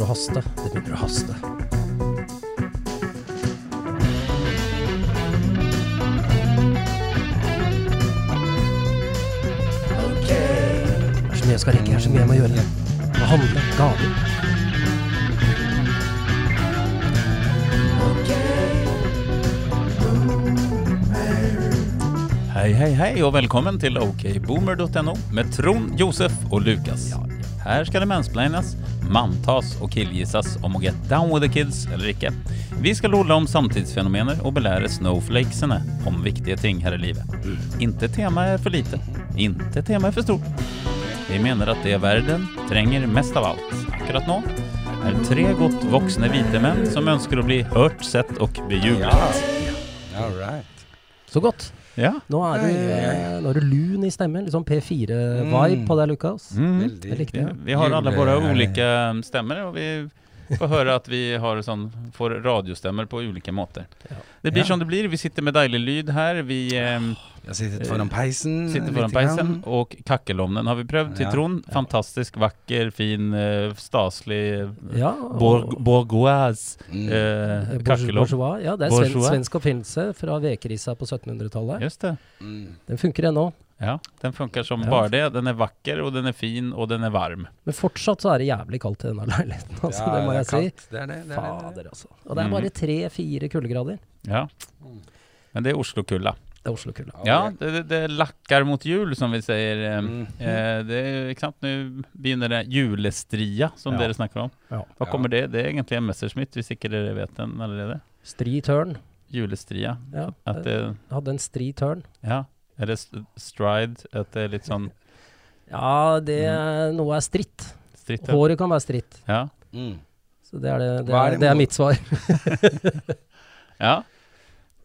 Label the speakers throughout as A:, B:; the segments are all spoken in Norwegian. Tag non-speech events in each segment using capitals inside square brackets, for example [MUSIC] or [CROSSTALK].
A: å haste. Det begynner å haste. Det er så mye jeg skal rekke. Det er så mye jeg må gjøre. Jeg må handle. Gaver.
B: Hei, hei, hei, og velkommen til okboomer.no med Trond, Josef og Lukas. Her skal det mansplaines, manntas og killgisses om å get down with the kids eller ikke. Vi skal lolle om samtidsfenomener og belære snowflakesene om viktige ting her i livet. Inte temaet er for lite, inte temaet er for stort. Vi mener at det verden trenger mest av alt akkurat nå, er tre godt voksne hvite menn som ønsker å bli hørt, sett og bejublet.
C: All right.
A: Så godt.
B: Ja.
A: Nå er du, eh, nå er du lun i stemmen. Litt sånn P4-vibe på deg, Lukas.
B: Mm.
C: Veldig.
A: Jeg likte
B: Ja,
A: det.
B: vi har alle våre
C: Jule-
B: ulike um, stemmer, og vi får høre at vi har sånn, får radiostemmer på ulike måter.
A: Ja.
B: Det blir
C: Ja.
B: som det blir. Vi sitter med deilig lyd her. Vi um,
C: Jeg har sittet
A: Eh,
C: foran peisen.
B: sitter
C: lite
B: foran
C: grann.
B: peisen, og kakkelovnen har vi prøvd.
C: Ja.
B: Sitron. Fantastisk vakker, fin, uh, staselig
A: Ja,
B: bourg- bourgeois
C: Mm.
A: Eh,
B: uh,
A: Bourge-
B: kakkelov.
A: Bourgeois. Ja, det er svensk,
B: Bourgeois.
A: svensk oppfinnelse fra vekerissa på 1700-tallet.
B: Just det.
C: Mm.
A: Den funker ennå.
B: Ja, den funker som
A: Ja.
B: bare det. Den er vakker, og den er fin, og den er varm.
A: Men fortsatt så er det jævlig kaldt i denne [LAUGHS] leiligheten, altså.
C: Ja,
A: det må
C: er
A: jeg si.
C: kaldt. Det er det. det, er Mm. det, det.
A: Fader, altså. Og det er bare tre-fire kuldegrader.
B: Ja. Men det er Oslo-kulda.
A: Det er Oslo-kulda.
C: er.
B: Ja, det, det, det lackar mot jul som vi säger. Eh,
C: Mm.
B: Eh, det är ju knappt nu begynner det julestria som
A: Ja.
B: dere snakker om.
A: Ja.
C: Ja.
B: Hva kommer det? Det er egentlig en Messerschmitt, hvis ikke dere vet den allerede.
A: Stri tørn.
B: Julestria.
A: Ja,
B: At
A: jeg
B: det,
A: hadde en stri tørn.
B: ja, er det st- stride? At det er litt sånn
A: Ja, det er- noe er stritt.
B: stritt?
A: Håret kan være stritt.
B: Ja.
C: Mm.
A: Så det er, det, det
C: Hva er
A: er,
C: det
A: det er
C: mot-
A: mitt svar.
B: ja.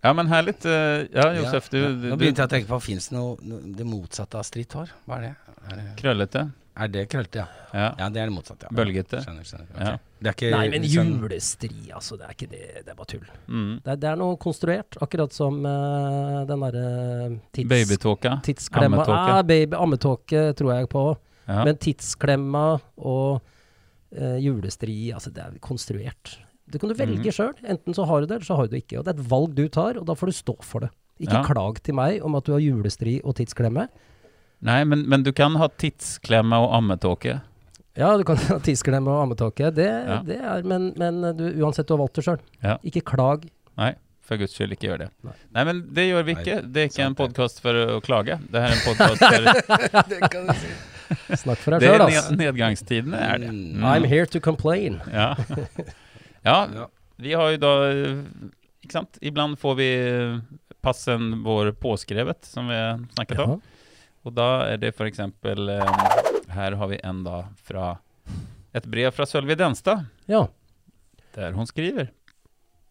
B: Ja, men herlig. eh, Ja, Josef,
C: Ja,
B: du,
C: Nå
B: du,
C: begynte
B: du
C: jeg å tenke på, fins det noe, noe det motsatte av stritt hår? Hva er det? Er det,
B: Krøllete.
C: er det krøllete, ja?
B: Ja.
C: Ja, det er det motsatte. Ja.
B: Bølgete.
C: Skjønner, skjønner. Ok.
B: Ja.
C: Det er ikke
A: Nei, men
B: liksom-
C: sånn-
A: julestri, altså. Det er ikke det. Det er bare tull.
B: Mm.
A: Det er, det er noe konstruert, akkurat som eh, den derre tids...
B: Babytåka.
A: Tidsklemma.
B: Ammetåke.
A: Ah, baby, ammetåke tror jeg på.
B: Ja.
A: Men tidsklemma og eh, julestri, altså det er konstruert. Det kan du
B: Mhm.
A: velge selv sjøl. Enten så har du det, eller så har du det ikke. Og det er et valg du tar, og da får du stå for det. Ikke
B: Ja.
A: klag til meg om at du har julestri og tidsklemme.
B: Nei, men, men du kan ha tidsklemme og ammetåke.
A: Ja, du kan [LAUGHS] ha tidsklemme og ammetåke, det,
B: Ja.
A: det er Men, men du, uansett, du har valgt det sjøl.
B: Ja.
A: Ikke klag.
B: Nei, for guds skyld, ikke gjør det. Nei,
A: Nei.
B: men det gjør vi
C: Nei,
B: ikke. Det er ikke en
C: sant det.
B: podkast for å klage. Det her er en podkast
C: [LAUGHS]
B: for
C: Det kan du si.
A: Snakk for deg
B: Det er
A: sjøl,
B: ned,
A: ass.
B: nedgangstidene, er det.
C: Mm.
A: I'm here to complain.
B: Ja. ja,
C: Ja.
B: vi har jo da Ikke sant? Iblant får vi eh, passen vår påskrevet, som vi snakket om.
A: Ja.
B: Og da er det f.eks. Her har vi en da fra et brev fra Sølvi Denstad,
A: ja.
B: der hun skriver.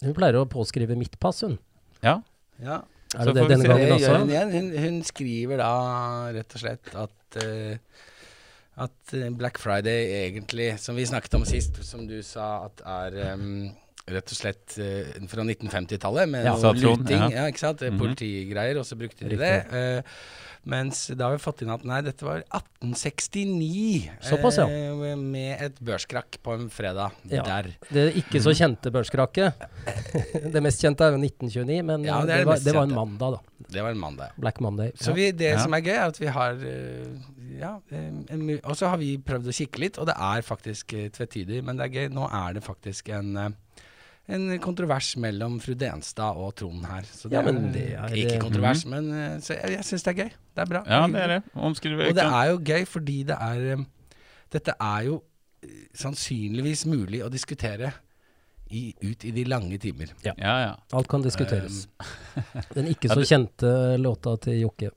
A: Hun pleier å påskrive mitt pass, hun.
B: Ja.
C: Ja.
A: Er
B: Så
A: det det
B: får vi
C: Det
B: se.
A: denne gangen
C: gjør hun
A: også?
C: igjen. Hun, hun skriver da rett og slett at eh, at eh, Black Friday egentlig, som vi snakket om sist, som du sa at er em, rett og slett eh, fra 1950-tallet med
B: Ja, sa
C: noe
B: Trond,
C: luting,
B: ja.
C: ja. ikke sant? Eh,
B: Mhm.
C: Politigreier, og så brukte de
A: Riktig.
C: det. eh, mens da har vi fått inn at nei, dette var 1869.
A: Såpass, ja.
C: eh, med et børskrakk på en fredag
A: Ja.
C: der.
A: Det ikke så kjente børskrakket. [LAUGHS] det mest kjente er jo 1929, men
C: Ja,
A: eh,
C: det er
A: det,
C: det
A: var,
C: mest
A: det var en
C: kjente.
A: mandag, da.
C: Det var en mandag.
A: Black Monday.
C: Så
A: Ja.
C: vi, det
B: Ja.
C: som er gøy, er at vi har eh, Ja. eh, en mu- Og så har vi prøvd å kikke litt, og det er faktisk eh, tvetydig, men det er gøy. Nå er det faktisk en eh, en kontrovers mellom fru Denstad og Trond her. Så det
A: Ja,
C: er,
A: men
C: eh,
A: det er-
C: ikke kontrovers, men eh, så jeg, jeg syns det er gøy. Det er bra.
B: mm. Ja, det er det. Omskriver.
C: Og det
B: ikke sant?
C: er jo gøy fordi det er eh, Dette er jo eh, sannsynligvis mulig å diskutere i, ut i de lange timer.
B: Ja, ja.
A: Alt kan diskuteres.
C: Ehm. [LAUGHS]
A: Den ikke så kjente låta til Jokke.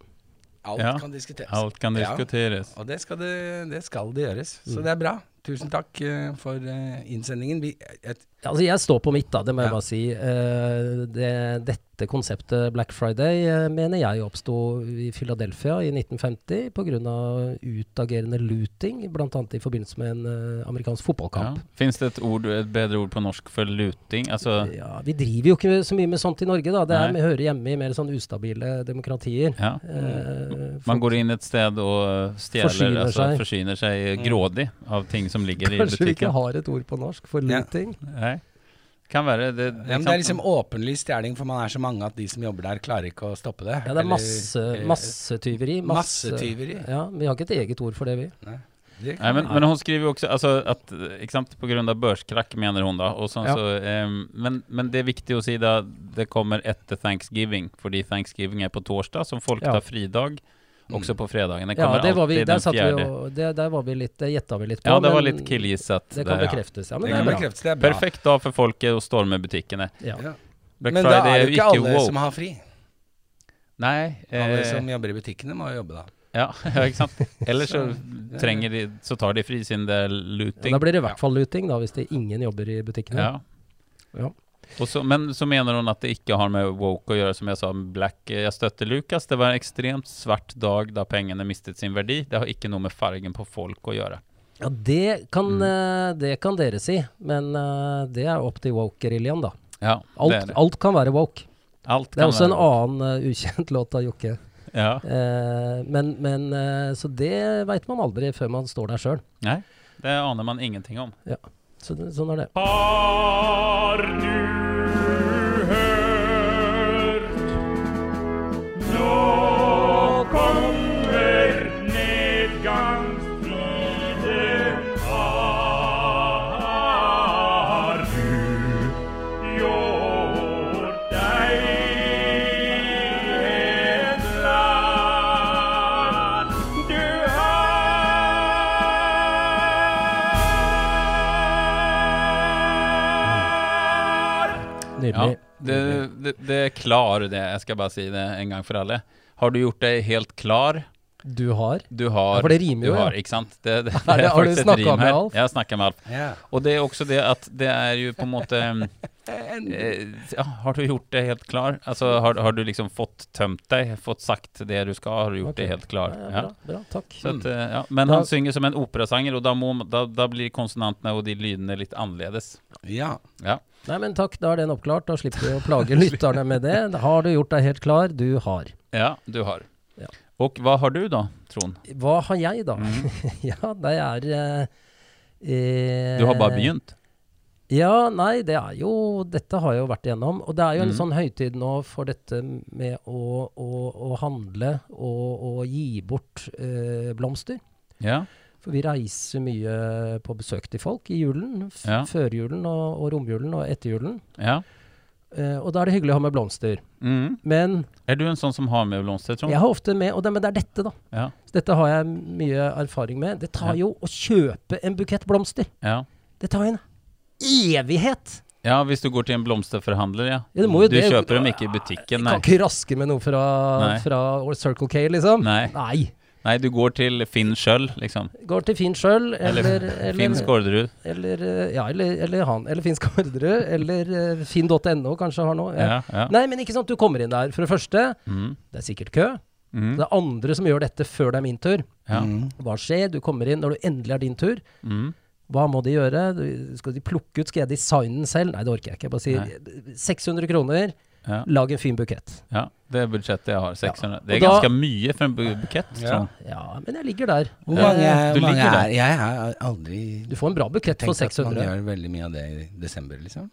C: Alt
B: Ja.
C: kan diskuteres.
B: Alt kan
C: Ja.
B: diskuteres.
C: Og det Mm. skal det, det, skal det gjøres. Så det er bra. Tusen takk eh, for eh, innsendingen. Vi, jeg,
A: Ja, altså jeg står på mitt, da, det må jeg
C: Ja.
A: bare si. Eh, det, dette konseptet Black Friday eh, mener jeg oppsto i Philadelphia i 1950 pga. utagerende looting, bl.a. i forbindelse med en eh, amerikansk
B: Ja.
A: fotballkamp.
B: Fins det et, ord, et bedre ord på norsk for luting? Altså
A: Ja, vi driver jo ikke så mye med sånt i Norge, da. Det er,
B: Nei.
A: vi hører hjemme i mer sånn ustabile demokratier.
B: ja.
A: Eh,
B: Man går inn et sted og stjeler,
A: Forsyner
B: forsyner, altså,
A: seg.
B: seg. forsyner seg
C: Mm.
B: grådig av ting som ligger i
A: [LAUGHS] Kanskje vi ikke
B: butikken.
A: har et ord på norsk for
C: Ja.
A: looting?
B: Nei. Kan være det, det,
C: Ja, men det er liksom åpenlys stjeling, for man er så mange at de som jobber der, klarer ikke å stoppe det.
A: Ja, det er
C: Eller- eh,
A: masse,
B: eh,
C: eller-
A: eh, massetyveri. masse-
C: Massetyveri?
A: Ja, vi har ikke et eget ord for det, vi.
C: Det
B: Nei,
C: kan-
B: men, men hun skriver jo også altså, at ikke sant, på grunn av børskrakk, mener hun da. Og sånn,
A: Ja.
B: så, ehm, men, men det er viktig å si da, det kommer etter thanksgiving, fordi thanksgiving er på torsdag, som folk
A: Ja.
B: tar fridag. Også på fredagen. Det
A: Ja,
B: kommer
A: det var vi,
B: alltid
A: der,
B: den
A: satt vi
B: fjerde.
A: og, det, der var vi litt, det gjetta vi litt på.
B: ja, det var
A: men
B: litt killgissat.
A: Det kan
B: der.
A: bekreftes. Ja, men
C: det kan
A: det er bra.
C: bekreftes, det er bra.
B: Perfekt dag for folket å storme butikkene.
A: Ja.
C: Ja.
B: Black
C: Men da er
B: Friday er
C: det
B: jo
C: ikke
B: ikke
C: alle
B: woke.
C: som har fri.
B: Nei.
C: Alle
B: Eh,
C: som jobber i butikkene, må jo jobbe da.
B: ja, [LAUGHS] ja, ikke
A: [LAUGHS]
B: sant. Ellers så trenger de Så tar de fri siden det er
A: Ja,
B: looting.
A: da blir det i hvert fall looting, da, hvis det ingen jobber i butikkene.
B: Ja.
A: Ja.
B: Og så, men så mener hun at det ikke har med woke å gjøre, som jeg sa med black. Eh, Jeg støtter Lucas. Det var en ekstremt svart dag da pengene mistet sin verdi. Det har ikke noe med fargen på folk å gjøre.
A: Ja, det kan,
B: Mm.
A: eh, det kan dere si, men eh, det er opp til woke-geriljaen, da.
B: Ja, det er
A: Alt,
B: det.
A: alt kan være woke.
B: Alt
A: Det er også en
B: være-
A: annen eh, ukjent [LAUGHS] låt av Jokke.
B: Ja.
A: Eh, men men eh, Så det veit man aldri før man står der sjøl.
B: Nei, det aner man ingenting om.
A: Så, det- sånn er det.
D: Har du hørt? Nå kommer nedgangstider. Har du gjort deg en plan? Du
B: Ja,
D: har
A: Nydelig.
B: det, det, det er klar, det. Jeg skal bare si det en gang for alle. Har du gjort deg helt klar?
A: Du har
B: Du har
A: Ja, for det rimer jo,
B: du
A: ja.
B: har, Ikke sant?
A: [LAUGHS]
B: Det, det, det,
A: Er det-
B: er
A: har du
B: faktisk et
A: snakket
B: rim
A: med
B: her.
A: Alf?
B: Jeg har snakka med Alf.
C: Ja.
B: Og det er også det at det er jo på en
A: [LAUGHS]
B: måte eh, ja, Har du gjort det helt klar? Altså, har, har du liksom fått tømt deg, fått sagt det du skal, har du gjort
A: Ok.
B: det helt klar?
A: Ja,
B: Ja.
A: Eh, bra, bra, takk.
B: Så at, eh, ja. Men
A: Da-
B: han synger som en operasanger, og da, må, da, da blir konsonantene og de lydene litt annerledes.
C: ja.
B: Ja.
A: Nei, men takk, da er den oppklart. Da slipper vi å plage
B: [LAUGHS]
A: [LAUGHS] lytterne med det. Da Har du gjort deg helt klar? Du har.
B: ja, du har.
A: Ja.
B: Og hva har du da, Trond?
A: Hva har jeg, da? [LAUGHS] ja, det er eh, eh,
B: Mm. Du har bare begynt.
A: Ja, nei, det er jo Dette har jeg jo vært igjennom. Og det er jo en
B: Mm.
A: sånn høytid nå for dette med å, å, å handle og å gi bort eh, blomster.
B: Ja.
A: For vi reiser mye på besøk til folk i julen. F
B: Ja.
A: Førjulen og, og romjulen og etterjulen.
B: ja.
A: Eh, og da er det hyggelig å ha med blomster.
B: Mm.
A: Men
B: Er du en sånn som har med blomster, Trond?
A: jeg har ofte med Og det, men det er dette, da.
B: Ja.
A: Så dette har jeg mye erfaring med. Det tar jo å kjøpe en bukett blomster.
B: ja.
A: Det tar jo en evighet!
B: Ja, hvis du går til en blomsterforhandler, ja.
A: Ja, det må jo
B: du
A: det.
B: kjøper dem ikke i butikken,
A: Kan
B: nei.
A: ikke raske med noe fra,
B: Nei.
A: fra Circle K, liksom.
B: Nei. Nei, du går til Finn sjøl, liksom.
A: Går til Finn sjøl, eller
B: Eller, Finn
A: eller,
B: Skårderud.
A: eller, eh, Ja, eller, eller han. Eller Finn Skårderud. Eller eh, finn.no kanskje har noe. Ja.
B: Ja, ja.
A: Nei, men ikke sant. Du kommer inn der. For det første,
B: Mm.
A: det er sikkert kø.
B: Mm.
A: Det er andre som gjør dette før det er min tur.
B: Ja.
C: Mm.
A: Hva skjer? Du kommer inn når du endelig er din tur.
B: Mm.
A: Hva må de gjøre? Du- Skal de plukke ut? Skal jeg designe den selv? Nei, det orker jeg ikke. Jeg bare sier 600 kroner,
B: Ja.
A: lag en fin bukett.
B: ja. Det er budsjettet jeg har. 600. Det
A: Og
B: er
A: da-
B: ganske mye for en bu- bukett, Trond.
A: Ja, men jeg ligger der. Eh,
C: Hvor mange,
B: Ja. Du
C: hvor mange
B: liker det.
C: er Jeg har aldri
A: Du får en bra bukett for
C: tenkt at man
A: 600.
C: gjør veldig mye av det i desember, liksom.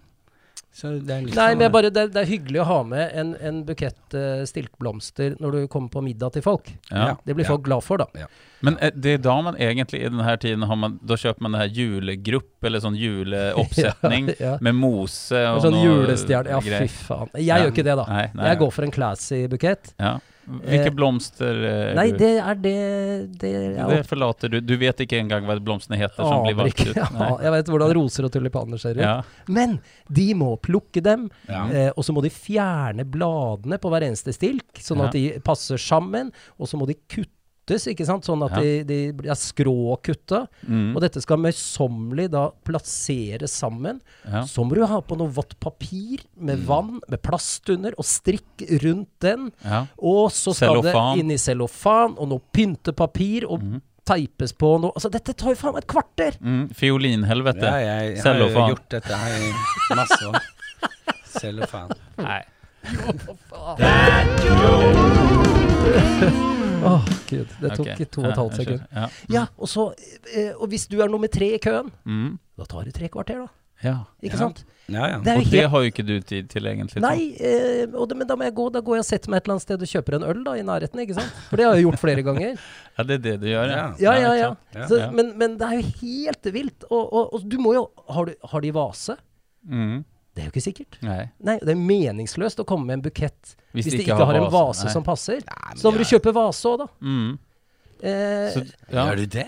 C: Så det er
B: Liksom,
C: litt
A: Nei,
C: sånn-
B: eh,
A: men jeg bare, det, er- det er hyggelig å ha med en, en bukett eh, stilkblomster når du kommer på middag til folk.
B: Ja.
C: Ja.
A: Det blir folk glad for, da.
B: [LAUGHS] Men eh, det er da man egentlig i denne tiden har man, Da kjøper man det her julegrupp, eller sånn juleoppsetning
A: [LAUGHS] Ja, ja.
B: med mose
A: En
B: og
A: sånn
B: noe
A: julestjerne. Ja,
B: greier.
A: fy faen. Jeg
B: Ja.
A: gjør ikke det, da.
B: Nei, nei,
A: jeg går for en classy bukett.
B: ja.
A: Eh,
B: Hvilke blomster eh,
A: Nei,
B: du-
A: det er det Det
B: det
A: er
B: forlater du. Du vet ikke engang hva blomstene heter som blir
A: Aner
B: valgt
A: ikke. [LAUGHS]
B: ut.
A: Ja,
B: Nei.
A: jeg vet hvordan roser og tulipaner ser ut.
B: Ja.
A: Men de må plukke dem,
C: Ja.
A: eh, og så må de fjerne bladene på hver eneste stilk, sånn at de passer sammen. Og så må de kutte kuttes, ikke sant? Sånn at
B: Ja. Mm.
A: de, de blir skråkutta. Og dette skal møysommelig da plasseres sammen.
B: Ja. Mm.
A: Så må du ha på noe vått papir med vann, med plast under, og strikk rundt den.
B: Ja.
A: Og så skal
B: Cellofan. Mhm.
A: det inn i cellofan, og noe pyntepapir, og teipes på noe Altså, dette tar jo faen meg et kvarter!
B: Mm, Fiolinhelvete.
C: Ja, jeg har jo
B: Cellofan.
C: gjort dette her i masse år. Cellofan.
B: Nei.
A: Åh, gud. Det tok
B: Ok.
A: to og et halvt
B: Ja, jeg
A: sekund.
B: skjønner.
A: Ja, og så eh, Og hvis du er nummer tre i køen,
B: Ja. Mm.
A: da tar det tre kvarter, da.
B: ja.
A: Ikke
C: Ja.
A: sant?
C: Ja, ja.
A: Det er
B: Og
A: jo
B: det
A: helt
B: har jo ikke du tid til, egentlig. så.
A: Nei, eh, og det, men da må jeg gå Da går jeg og setter meg et eller annet sted og kjøper en øl da i nærheten. ikke sant? For det har jeg gjort flere ganger.
B: Ja, det er det du gjør, ja.
A: Ja, ja,
B: ikke
A: ja.
B: sant?
C: Ja,
A: Så,
B: ja.
A: men, men det er jo helt vilt. Og, og, og du må jo har, du, har de vase?
B: Mm.
A: Det er jo ikke sikkert.
B: Nei.
A: Nei, Det er meningsløst å komme med en bukett hvis, de ikke har, en vase
B: Nei.
A: som passer.
C: men
A: så da må
C: det
A: du kjøpe vase òg, da.
B: Mm.
A: Eh,
B: Så, ja.
C: Gjør du det?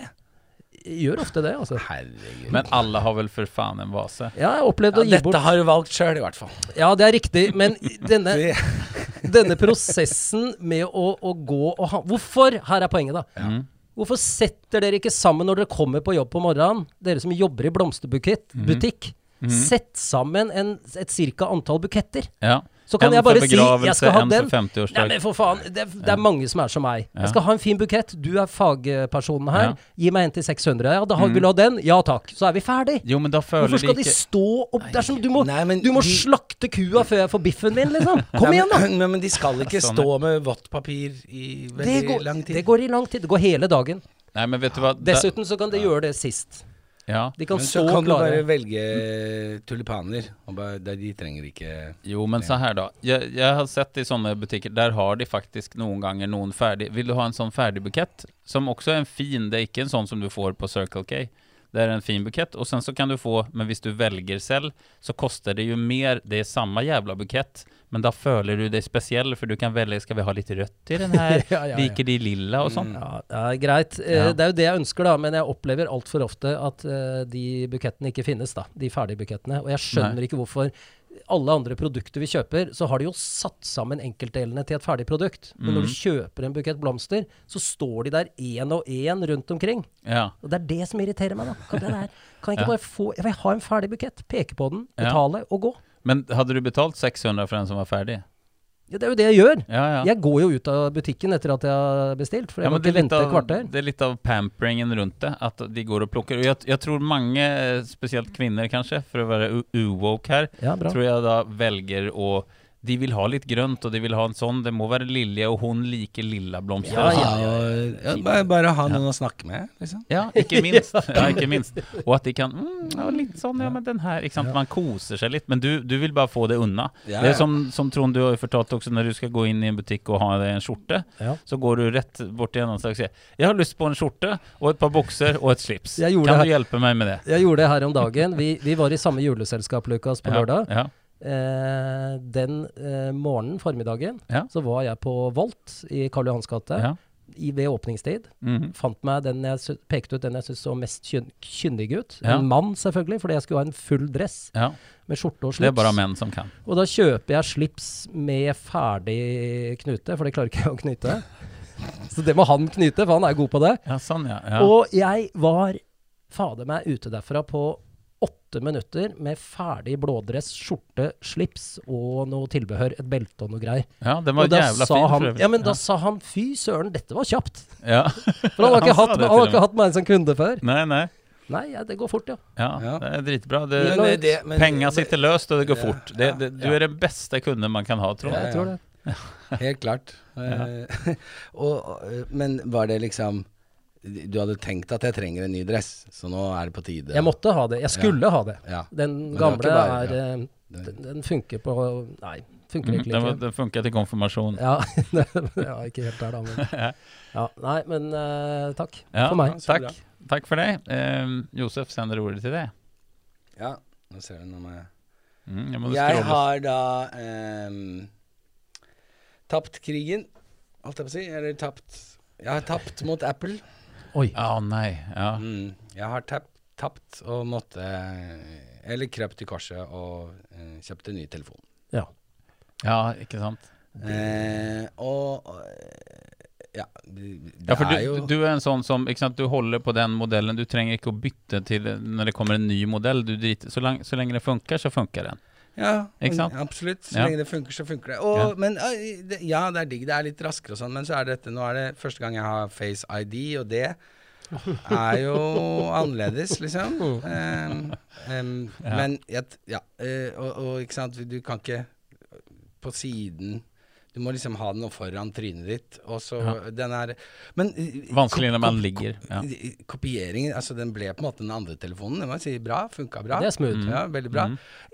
A: Gjør ofte det, altså.
C: Herregud.
B: Men alle har vel for faen en vase?
A: Ja, jeg opplevde
C: ja,
A: å gi bort
C: dette har du valgt sjøl, i hvert fall.
A: Ja, det er riktig, men denne,
C: Det-
A: denne prosessen med å, å gå og ha Hvorfor? Her er poenget, da.
B: Mm.
A: Hvorfor setter dere ikke sammen når dere kommer på jobb på morgenen, dere som jobber i blomsterbutikk,
B: Mm.
A: butikk, sett sammen en, et cirka antall buketter?
B: Ja.
A: Så kan
B: en
A: jeg bare
B: for
A: si jeg skal ha
B: en
A: den.
B: for
A: Nei,
B: 50-årsdag.
A: men for faen, det, er- det er mange som er som meg. Jeg skal ha en fin bukett, du er fagpersonen her.
B: Ja.
A: Gi meg en til 600. Ja, da har vil du ha den? Ja takk. Så er vi ferdig.
B: Jo, men da føler
A: Hvorfor
B: de
A: skal de
B: ikke
A: stå opp Det er som du må,
C: Nei, men
A: du må
C: de-
A: slakte kua før jeg får biffen min, liksom. Kom
C: Nei,
A: igjen, da.
C: Men, men de skal ikke
B: Sånn,
C: stå med vått papir i
A: Det
C: veldig
A: går,
C: lang tid.
A: det går i lang tid. Det går hele dagen.
B: Nei, men vet du hva Da-
A: Dessuten så kan de gjøre det sist.
B: ja.
A: De kan
C: men
A: så
C: så kan du bare
A: klare
C: velge tulipaner. Og bare, de, de trenger ikke
B: Jo, men så her, da. Jeg, jeg har sett i sånne butikker, der har de faktisk noen ganger noen ferdig Vil du ha en sånn ferdigbukett, som også er en fin Det er ikke en sånn som du får på Circle K. Det er en fin bukett, og sen så kan du få Men hvis du velger selv, så koster det jo mer. Det er samme jævla bukett, men da føler du deg spesiell, for du kan velge Skal vi ha litt rødt i den her?
A: [LAUGHS] [LAUGHS] Ja, ja, Mm. ja.
B: Liker de lilla og sånn?
A: Ja, det er greit. Eh,
B: Ja.
A: Det er jo det jeg ønsker, da. Men jeg opplever altfor ofte at eh, de bukettene ikke finnes, da. De ferdigbukettene. Og jeg skjønner
B: Nei.
A: ikke hvorfor. Alle andre produkter vi kjøper, så har de jo satt sammen enkeltdelene til et ferdig produkt. Men når du
B: Mhm.
A: kjøper en bukett blomster, så står de der én og én rundt omkring.
B: Ja.
A: Og det er det som irriterer meg, da. Kan, det der, kan jeg ikke
B: Ja.
A: bare få Jeg vil ha en ferdig bukett. Peke på den,
B: Ja.
A: betale og gå.
B: Men hadde du betalt 600 for den som var ferdig?
A: Ja, det er jo det jeg gjør.
B: Ja, ja.
A: Jeg går jo ut av butikken etter at jeg har bestilt, for jeg
B: Ja,
A: må
B: men det
A: ikke
B: er, litt
A: vente et
B: av,
A: kvarter.
B: det er litt av pamperingen rundt det, at de går og plukker. Og jeg, jeg tror mange, eh, spesielt kvinner kanskje, for å være u- uwoke her,
A: Ja, bra.
B: tror jeg da velger å De vil ha litt grønt, og de vil ha en sånn. Det må være lilje, og hun liker lilla blomster. altså.
A: Ja, ja,
C: Ha- ja, bare, bare ha noen å snakke med, liksom.
B: Ja, ikke minst. [LAUGHS] Ja, ikke minst. Og at de kan mm, ja, Litt sånn, ja, men den her ikke sant? Man koser seg litt. Men du, du vil bare få det unna.
C: Ja,
B: Det
C: ja.
B: er som, som Trond, du har jo fortalt også, når du skal gå inn i en butikk og ha deg en skjorte,
A: Ja.
B: så går du rett bort til en annen og sier 'Jeg har lyst på en skjorte og et par bukser og et slips'.
A: Jeg gjorde
B: Kan
A: det
B: du hjelpe meg med det?
A: Jeg gjorde det her om dagen. Vi, vi var i samme juleselskap, Lukas, på
B: Ja,
A: lørdag.
B: Ja,
A: Eh, den eh, morgenen, formiddagen,
B: Ja.
A: så var jeg på Volt i Karl Johans gate
B: ja.
A: i- ved åpningstid.
B: Mhm.
A: Fant meg den jeg sy- pekte ut den jeg syntes så mest kyn kyndig ut.
B: Ja.
A: En mann, selvfølgelig, fordi jeg skulle ha en full dress
B: ja.
A: med skjorte og
B: Det er
A: slips.
B: bare menn som kan.
A: Og da kjøper jeg slips med ferdig knute, for det klarer ikke jeg å knyte. Så det må han knyte, for han er god på det.
B: Ja, sånn, ja. ja.
A: Og jeg var fader meg ute derfra på åtte minutter med ferdig blådress, skjorte, slips og noe tilbehør. Et belte og noe greier.
B: ja den var
A: og da
B: jævla
A: sa
B: fin, for
A: han,
B: øvrig.
A: ja, men da sa han fy søren, dette var kjapt.
B: [LAUGHS] ja.
A: [LAUGHS]
B: [LAUGHS]
A: For han har ikke,
B: sa
A: hatt,
B: det til
A: han har
B: og med.
A: ikke hatt meg som kunde før.
B: Nei, nei.
A: Nei, ja, det går fort, ja.
B: Ja,
C: Ja.
B: det er dritbra. Det,
C: Men det- det- men-
B: penga sitter løst, og det går
C: Ja,
B: fort. Det, det, du er den beste kunden man kan ha, tror
A: Jeg
B: jeg.
A: tror det.
C: Helt
A: [LAUGHS]
C: klart. Eh, [LAUGHS] og, og- men var det liksom Du hadde tenkt at jeg trenger en ny dress, så nå er det på tide.
A: Jeg måtte ha det. Jeg skulle ha det.
C: Ja.
A: Den
C: det var ikke
A: gamle
C: bare-
A: er eh, den, den funker på Nei, funker
B: Mm,
A: virkelig
B: den, var-
A: ikke.
B: den funka til konfirmasjon.
A: Ja, [LAUGHS] ja, ikke helt der,
B: [LAUGHS]
A: da. Men. Ja, nei, men eh, takk
B: Ja,
A: for meg.
B: Takk. Takk for det. Ehm, Josef sender ordet til deg.
C: ja. Nå ser du noe med
B: Mm, jeg må
C: Jeg
B: scrolle.
C: har da ehm, tapt krigen, holdt jeg på å si. Eller tapt Jeg har tapt mot Apple.
A: Oi.
B: Å nei. Ja.
C: Mm. Jeg har tapt, tapt og måtte Eller krøp til korset og eh, kjøpte ny telefon.
A: Ja.
B: ja, ikke sant?
C: Eh, og eh, Ja, det
B: Ja, for
C: er jo
B: du, du er en sånn som ikke sant, Du holder på den modellen. Du trenger ikke å bytte til når det kommer en ny modell. Du driter, så, lang, så lenge det funker, så funker den.
C: Ja,
B: Ikke
C: men-
B: sant?
C: absolutt. Så
B: Ja.
C: lenge det funker, så funker det. Og, men, eh, det- ja, det er digg. Det er litt raskere og sånn, men så er det dette Nå er det første gang jeg har Face ID, og det er jo annerledes,
B: [LAUGHS]
C: liksom. Em, em,
B: Oh. Ja.
C: Men jeg, t- ja, eh, og, og ikke sant, du kan ikke på siden du må liksom ha den nå foran trynet ditt, og så den er Men eh,
B: Vanskelig når man
C: kop-
B: ligger. Ja.
C: Kopieringen, altså den ble på en måte den andre telefonen. Det må jeg si bra, funka bra.
A: Det er smooth.
C: Ja, veldig bra.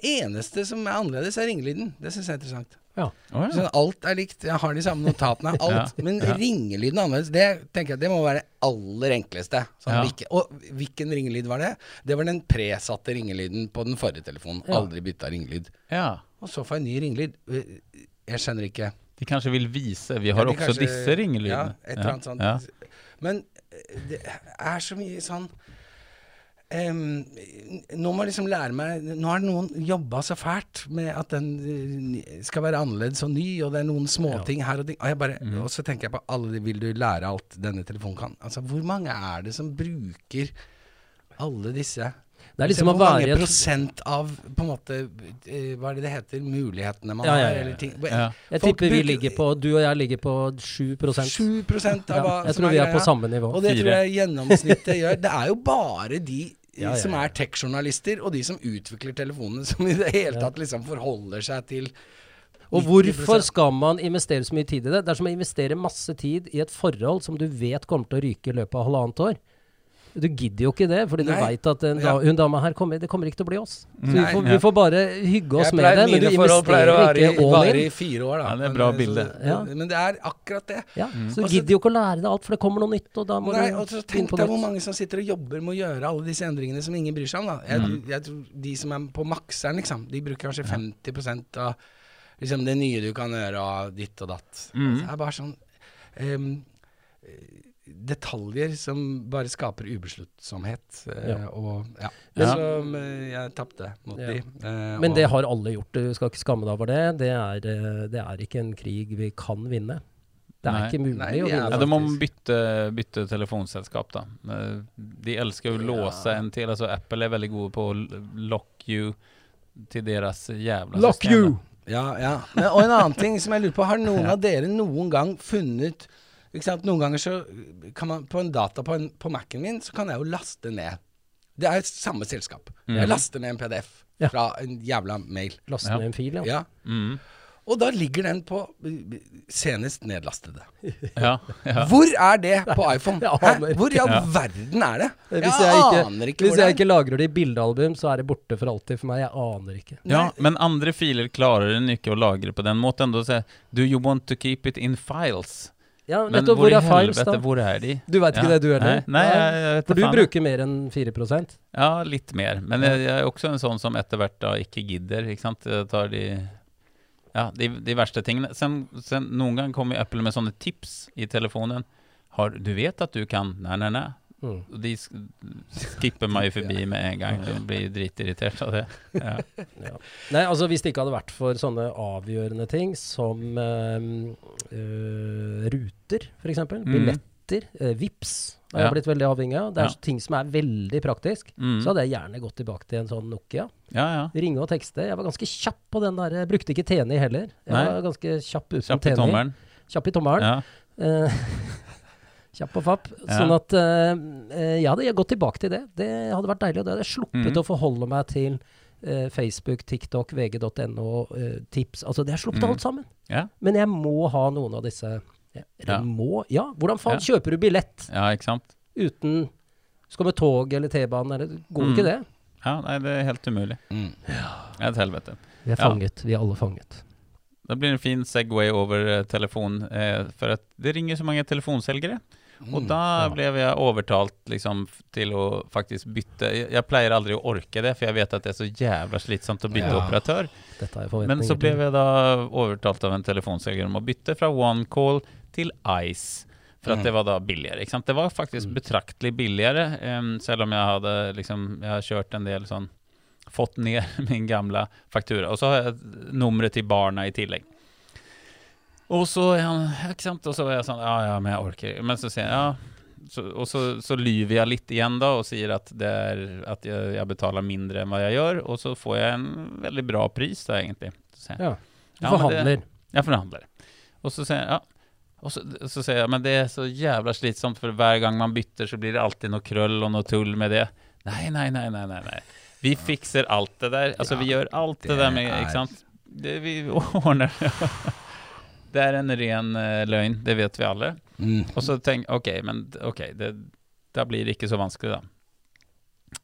C: Eneste som er annerledes, er ringelyden. Det syns jeg er interessant.
A: Ja.
B: Å, ja.
C: Så alt er likt. Jeg har de samme
A: [LAUGHS]
C: notatene. Alt. Men ringelyden er annerledes. Det tenker jeg det må være det aller enkleste. Sånn,
B: Ja.
C: hvilke, og hvilken ringelyd var det? Det var den presatte ringelyden på den forrige telefonen.
A: Ja.
C: Aldri bytta ringelyd.
B: ja.
C: Og så får jeg ny ringelyd. Jeg skjønner ikke.
B: De kanskje vil vise Vi har
C: Ja, de
B: også
C: kanskje-
B: disse ringelydene.
C: Ja, et eller annet sånt.
B: Ja.
C: Men eh, det er så mye sånn em, Nå må jeg liksom lære meg Nå har noen jobba så fælt med at den eh, skal være annerledes og ny, og det er noen småting her og ting. Og, jeg bare,
B: Mhm.
C: og så tenker jeg på alle de Vil du lære alt denne telefonen kan? Altså, hvor mange er det som bruker alle disse?
A: Det er liksom å
C: hvor mange
A: være i et-
C: prosent av på en måte, eh, Hva er det det heter? Mulighetene man
A: Ja, ja,
C: har?
A: ja,
C: Eller ting.
B: Ja.
A: Jeg
C: Folk
A: tipper vi
C: bruker-
A: ligger på Du og jeg ligger på 7
C: 7 av
A: Ja,
C: hva
A: jeg
C: som
A: tror vi er
C: greia.
A: på samme nivå.
C: Og det
B: Fire.
C: tror jeg gjennomsnittet gjør. Det er jo bare de
A: [LAUGHS] Ja, ja,
C: som
A: ja.
C: er tech-journalister, og de som utvikler telefonene, som i det hele tatt liksom forholder seg til
A: Og
C: 90%.
A: hvorfor skal man investere så mye tid i det? Det er som å investere masse tid i et forhold som du vet kommer til å ryke i løpet av halvannet år. Du gidder jo ikke det, fordi du
C: Nei.
A: veit at en da,
C: Ja.
A: hun dama her kommer, det kommer ikke til å bli oss. Så vi
C: Nei.
A: får, vi får bare hygge oss
C: Jeg
A: med det,
C: pleier-
A: men du
C: Mine forhold pleier å
A: investerer
C: vare i,
A: ikke all
C: vare i
A: in.
C: fire år, da.
B: Ja, det er
C: Men,
B: bra
C: eh,
B: bilde.
C: Så,
A: Ja.
C: Men det er akkurat det.
A: Ja, så
C: Mm. Og så-
A: gidder jo ikke å lære deg alt, for det kommer noe nytt, og da må
C: Nei,
A: du
C: og så
A: inn
C: Tenk
A: på
C: deg hvor
A: nytt.
C: mange som sitter og jobber med å gjøre alle disse endringene som ingen bryr seg om. da. Jeg, jeg tror De som er på makseren, liksom, de bruker kanskje 50 av liksom, det nye du kan gjøre, og ditt og datt.
B: Mm.
A: Mm.
C: Det er bare sånn ehm, Detaljer som bare skaper ubesluttsomhet. eh,
A: Ja.
C: Og, ja.
B: Ja.
C: Som eh, jeg tapte mot
A: Ja.
C: de. eh,
A: Men
C: og-
A: det har alle gjort, du skal ikke skamme deg over det. Det er, eh, det er ikke en krig vi kan vinne. Det er
B: Nei.
A: ikke mulig
C: Nei,
A: å
C: vi er
A: vinne.
B: Ja, da må man bytte, bytte telefonselskap, da. Eh, De elsker å låse en til. Altså, Apple er veldig gode på å l- lock you til deres jævla system, da.
C: Ja, ja. Men, og en annen ting som jeg lurer på. Har
A: [LAUGHS]
C: noen av dere noen gang funnet ikke sant? Noen ganger så kan man på en data på, en, på Mac-en min, så kan jeg jo laste ned. Det er samme selskap. Jeg laster ned en PDF
A: Mm. Ja.
C: fra en jævla mail.
A: Laste
B: Ja.
A: ned en fil, ja.
C: Ja.
B: Mm.
C: Og da ligger den på eh, senest nedlastede.
B: Ja, ja.
C: Hvor er det på iPhone?
A: Jeg
C: Hæ?
A: aner ikke.
C: Hvor i all
B: Ja.
C: verden er det? Jeg,
A: Eh, Hvis jeg ikke,
C: aner ikke
A: hvis
C: hvor det
A: jeg
C: er.
A: ikke lagrer det i bildealbum, så er det borte for alltid for meg. Jeg aner ikke.
B: ja, men andre filer klarer den ikke å lagre på den måten. Da sier jeg, Do you want to keep it in files?
A: Ja,
B: Men
A: nettopp,
B: hvor
A: hvor
B: i
A: er files,
B: helvete,
A: da?
B: hvor er de?
A: Du veit ikke
B: Ja.
A: det, du heller?
B: Nei, nei, jeg- jeg vet
A: For du
B: faen.
A: bruker mer enn 4 ja,
B: Ja, litt mer. Men jeg, jeg er også en sånn som etter hvert da ikke gidder, ikke sant. Jeg tar de ja, de, de verste tingene. Sen, sen, noen gang kommer Apple med sånne tips i telefonen. Har, du vet at du kan Nei, nei, nei.
A: Mm.
B: Og de sk- skipper meg jo
A: [LAUGHS]
B: forbi med en gang. Jeg blir dritirritert av det. Ja.
A: Nei, altså Hvis det ikke hadde vært for sånne avgjørende ting som ehm, øh, ruter, f.eks. eksempel,
B: Mm.
A: Billetter. Uh, Vips har
B: Ja.
A: jeg blitt veldig avhengig av. Det er
B: Ja.
A: ting som er veldig praktisk.
B: Mm.
A: Så hadde jeg gjerne gått tilbake til en sånn Nokia.
B: ja, ja.
A: Ringe og tekste. Jeg var ganske kjapp på den der. Jeg brukte ikke Teni heller. Jeg
B: Nei.
A: var ganske kjapp uten
B: Kjapp i
A: Teni.
B: tommelen.
A: Kjapp i tommelen.
B: Ja.
A: Eh, [LAUGHS] Kjapp og fapp.
B: Ja.
A: Sånn at eh, eh, jeg hadde gått tilbake til det. Det hadde vært deilig. Og det hadde jeg sluppet
B: Mhm.
A: å forholde meg til eh, Facebook, TikTok, vg.no, eh, tips. Altså, det har jeg sluppet
B: Mhm.
A: alt sammen.
B: Ja.
A: Men jeg må ha noen av disse. Ja, Eller
B: Ja.
A: må? Ja, hvordan faen
B: Ja.
A: kjøper du billett
B: ja, ikke sant?
A: uten Skal med tog eller T-banen eller Går
B: Mhm.
A: ikke det?
B: Ja, nei, det er helt umulig.
C: Mm.
B: Det er et helvete.
A: Vi er
B: Ja.
A: fanget. Vi er alle fanget.
B: Det blir en fin segway over eh, telefon, eh, for at det ringer så mange telefonselgere. Og da ble jeg overtalt liksom, f- til å faktisk bytte. Jeg, jeg pleier aldri å orke det, for jeg vet at det er så jævla slitsomt å bytte
C: Ja.
B: operatør.
A: Dette har jeg
B: Men
A: forventninger
B: så ble jeg da overtalt av en telefonselger om å bytte fra OneCall til Ice. For at det var da billigere. Ikke sant? Det var faktisk betraktelig billigere, em, selv om jeg hadde liksom, jeg har kjørt en del sånn Fått [LAUGHS] ned min gamle faktura. Og så har jeg numre til barna i tillegg. Og så er han ikke sant? Og så er jeg sånn Ja, ja, men jeg orker ikke. Men så sier jeg ja. Så, og så, så lyver jeg litt igjen, da, og sier at, det er, at jeg, jeg betaler mindre enn hva jeg gjør. Og så får jeg en veldig bra pris, da, egentlig. Så sier jeg,
A: Ja. Du
B: Ja, men det-
A: forhandler.
B: jeg forhandler. Og så sier jeg ja. Og så, så sier jeg men det er så jævla slitsomt, for hver gang man bytter, så blir det alltid noe krøll og noe tull med det. Nei, nei, nei, nei, nei. nei. Vi fikser alt det der. Altså, vi gjør alt det,
C: det
B: der med
C: er-
B: Ikke sant? Det, vi [LAUGHS] ordner Det er en ren eh, løgn, det vet vi alle.
C: Mm.
B: Og så tenk, ok, men d- ok, det, da blir det ikke så vanskelig da.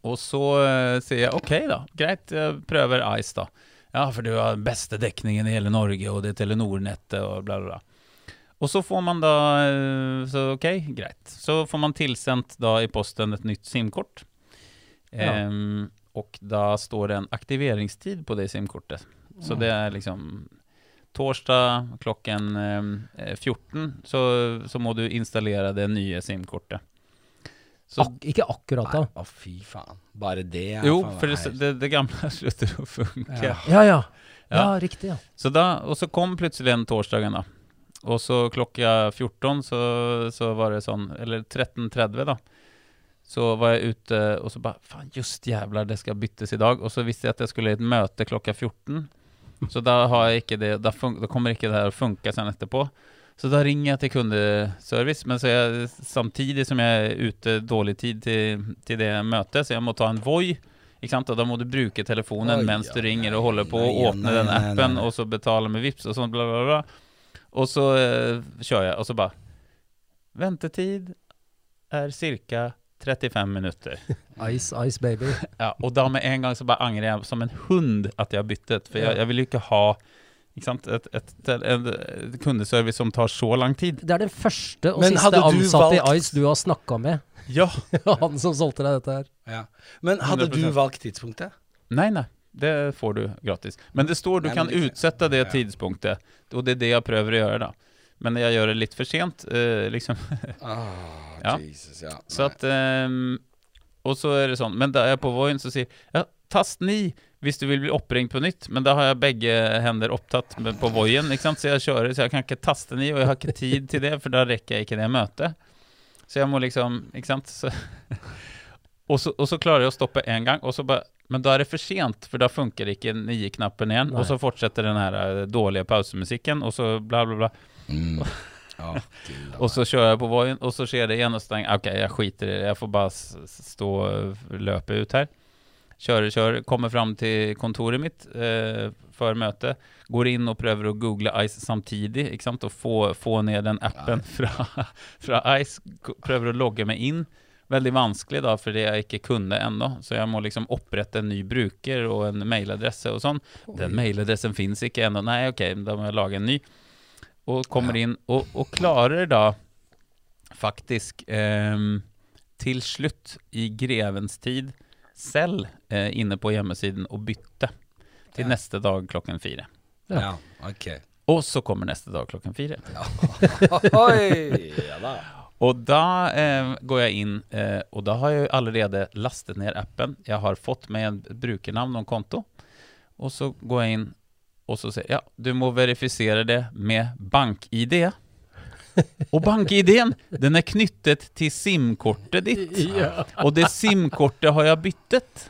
B: Og så eh, sier jeg, ok da, greit, jeg prøver Ice da. Ja, for du har den beste dekningen i hele Norge, og det er Telenor-nettet, og bla bla bla. Og så får man da, eh, så ok, greit. Så får man tilsendt da i posten et nytt SIM-kort.
A: Ja.
B: Ehm, og da står det en aktiveringstid på det SIM-kortet. Så det er liksom Torsdag klokken eh, 14 så, så må du installere det nye SIM-kortet. Så-
C: Ah,
A: Ak ikke akkurat da.
C: mm. Nei, Å, fy faen. Bare det er
B: Jo,
C: faen meg
B: for det,
C: helt-
B: det, det gamle [LAUGHS] slutter å funke.
C: Ja.
A: Ja, ja.
B: Ja.
A: Ja, riktig, ja.
B: Så da, og så kom plutselig den torsdagen, da. Og så klokka 14 så, så var det sånn Eller 13.30, da. Så var jeg ute, og så bare Faen, just jævlar, det skal byttes i dag. Og så visste jeg at jeg skulle i et møte klokka 14. Så da har jeg ikke det Da, fun da kommer ikke det her å funke sen etterpå. Så da ringer jeg til kundeservice, men så er jeg, samtidig som jeg er ute dårlig tid til, til det møtet, så jeg må ta en Voi. Ikke sant? Og da må du bruke telefonen
C: Oi,
B: mens du
C: ja,
B: ringer
C: nei,
B: og holder på å
C: nei, ja,
B: åpne
C: nei,
B: den
C: nei, nei,
B: appen,
C: nei.
B: og så betale med Vipps og sånn, bla, bla, bla. Og så eh, kjører jeg, og så bare Ventetid er ca. 35
C: [LAUGHS]
B: minutter.
A: Ice, ice baby.
B: Ja, og da med en gang så bare angrer jeg som en hund at jeg har byttet, for jeg, jeg vil jo ikke ha ikke sant? Et, et, et, et kundeservice som tar så lang tid.
A: [LAUGHS] Det er den første og
C: Men
A: siste
C: hadde du
A: ansatte
C: valgt-
A: i Ice du har snakka med. [LAUGHS]
B: Ja.
A: Han som solgte deg dette her.
C: ja. Men hadde du
B: 100%.
C: valgt tidspunktet?
B: Nei, nei. Det får du gratis. Men det står du
C: Nei, men
B: kan
C: det-
B: utsette det
C: ja.
B: tidspunktet, og det er det jeg prøver å gjøre, da. Men jeg gjør det litt for sent, eh, liksom.
C: Åh,
B: Ja.
C: Ah, Jesus, ja.
B: Så at ehm, Og så er det sånn Men da er jeg på Voien så sier Ja, tast 9 hvis du vil bli oppringt på nytt Men da har jeg begge hender opptatt med, på Voien Ikke sant? Så jeg kjører Så jeg kan ikke taste 9 Og jeg har ikke tid til det For da rekker jeg ikke det møtet Så jeg må liksom Ikke sant? Så, [LAUGHS] og, så, og så klarer jeg å stoppe en gang Og så bare men da er det for sent, for da funker ikke 9-knappen igjen,
A: Nei.
B: og så fortsetter den her eh, dårlige pausemusikken, og så bla bla bla.
C: Mm.
B: [LAUGHS]
C: Åh, Gud, da.
B: Og så kjører jeg på Voien, og så skjer det igjen, og så tenker jeg ok, jeg skiter i det, jeg får bare s- s- stå og løpe ut her. Kjører, kjører, kommer fram til kontoret mitt eh, for møte, går inn og prøver å google Ice samtidig, ikke sant, og få, få ned den appen [LAUGHS] fra, fra Ice, K- prøver å logge meg inn. Veldig vanskelig da, fordi jeg ikke kunne ennå, så jeg må liksom opprette en ny bruker og en mailadresse og sånn. Den mailadressen finnes ikke ennå, nei ok, da må jeg lage en ny og kommer inn og, og klarer da faktisk ehm, til slutt i grevens tid selv eh, inne på hjemmesiden og bytte til neste dag klokken fire.
C: Ja,
B: [LAUGHS]
C: ok.
B: Og så kommer neste dag klokken fire.
C: Oi, ja da.
B: Og da eh, går jeg inn, eh, og da har jeg jo allerede lastet ned appen. Jeg har fått med en brukernavn og en konto. Og så går jeg inn, og så sier jeg, ja, du må verifisere det med bank-ID. Og bank-ID-en, den er knyttet til SIM-kortet ditt. Og det SIM-kortet har jeg byttet.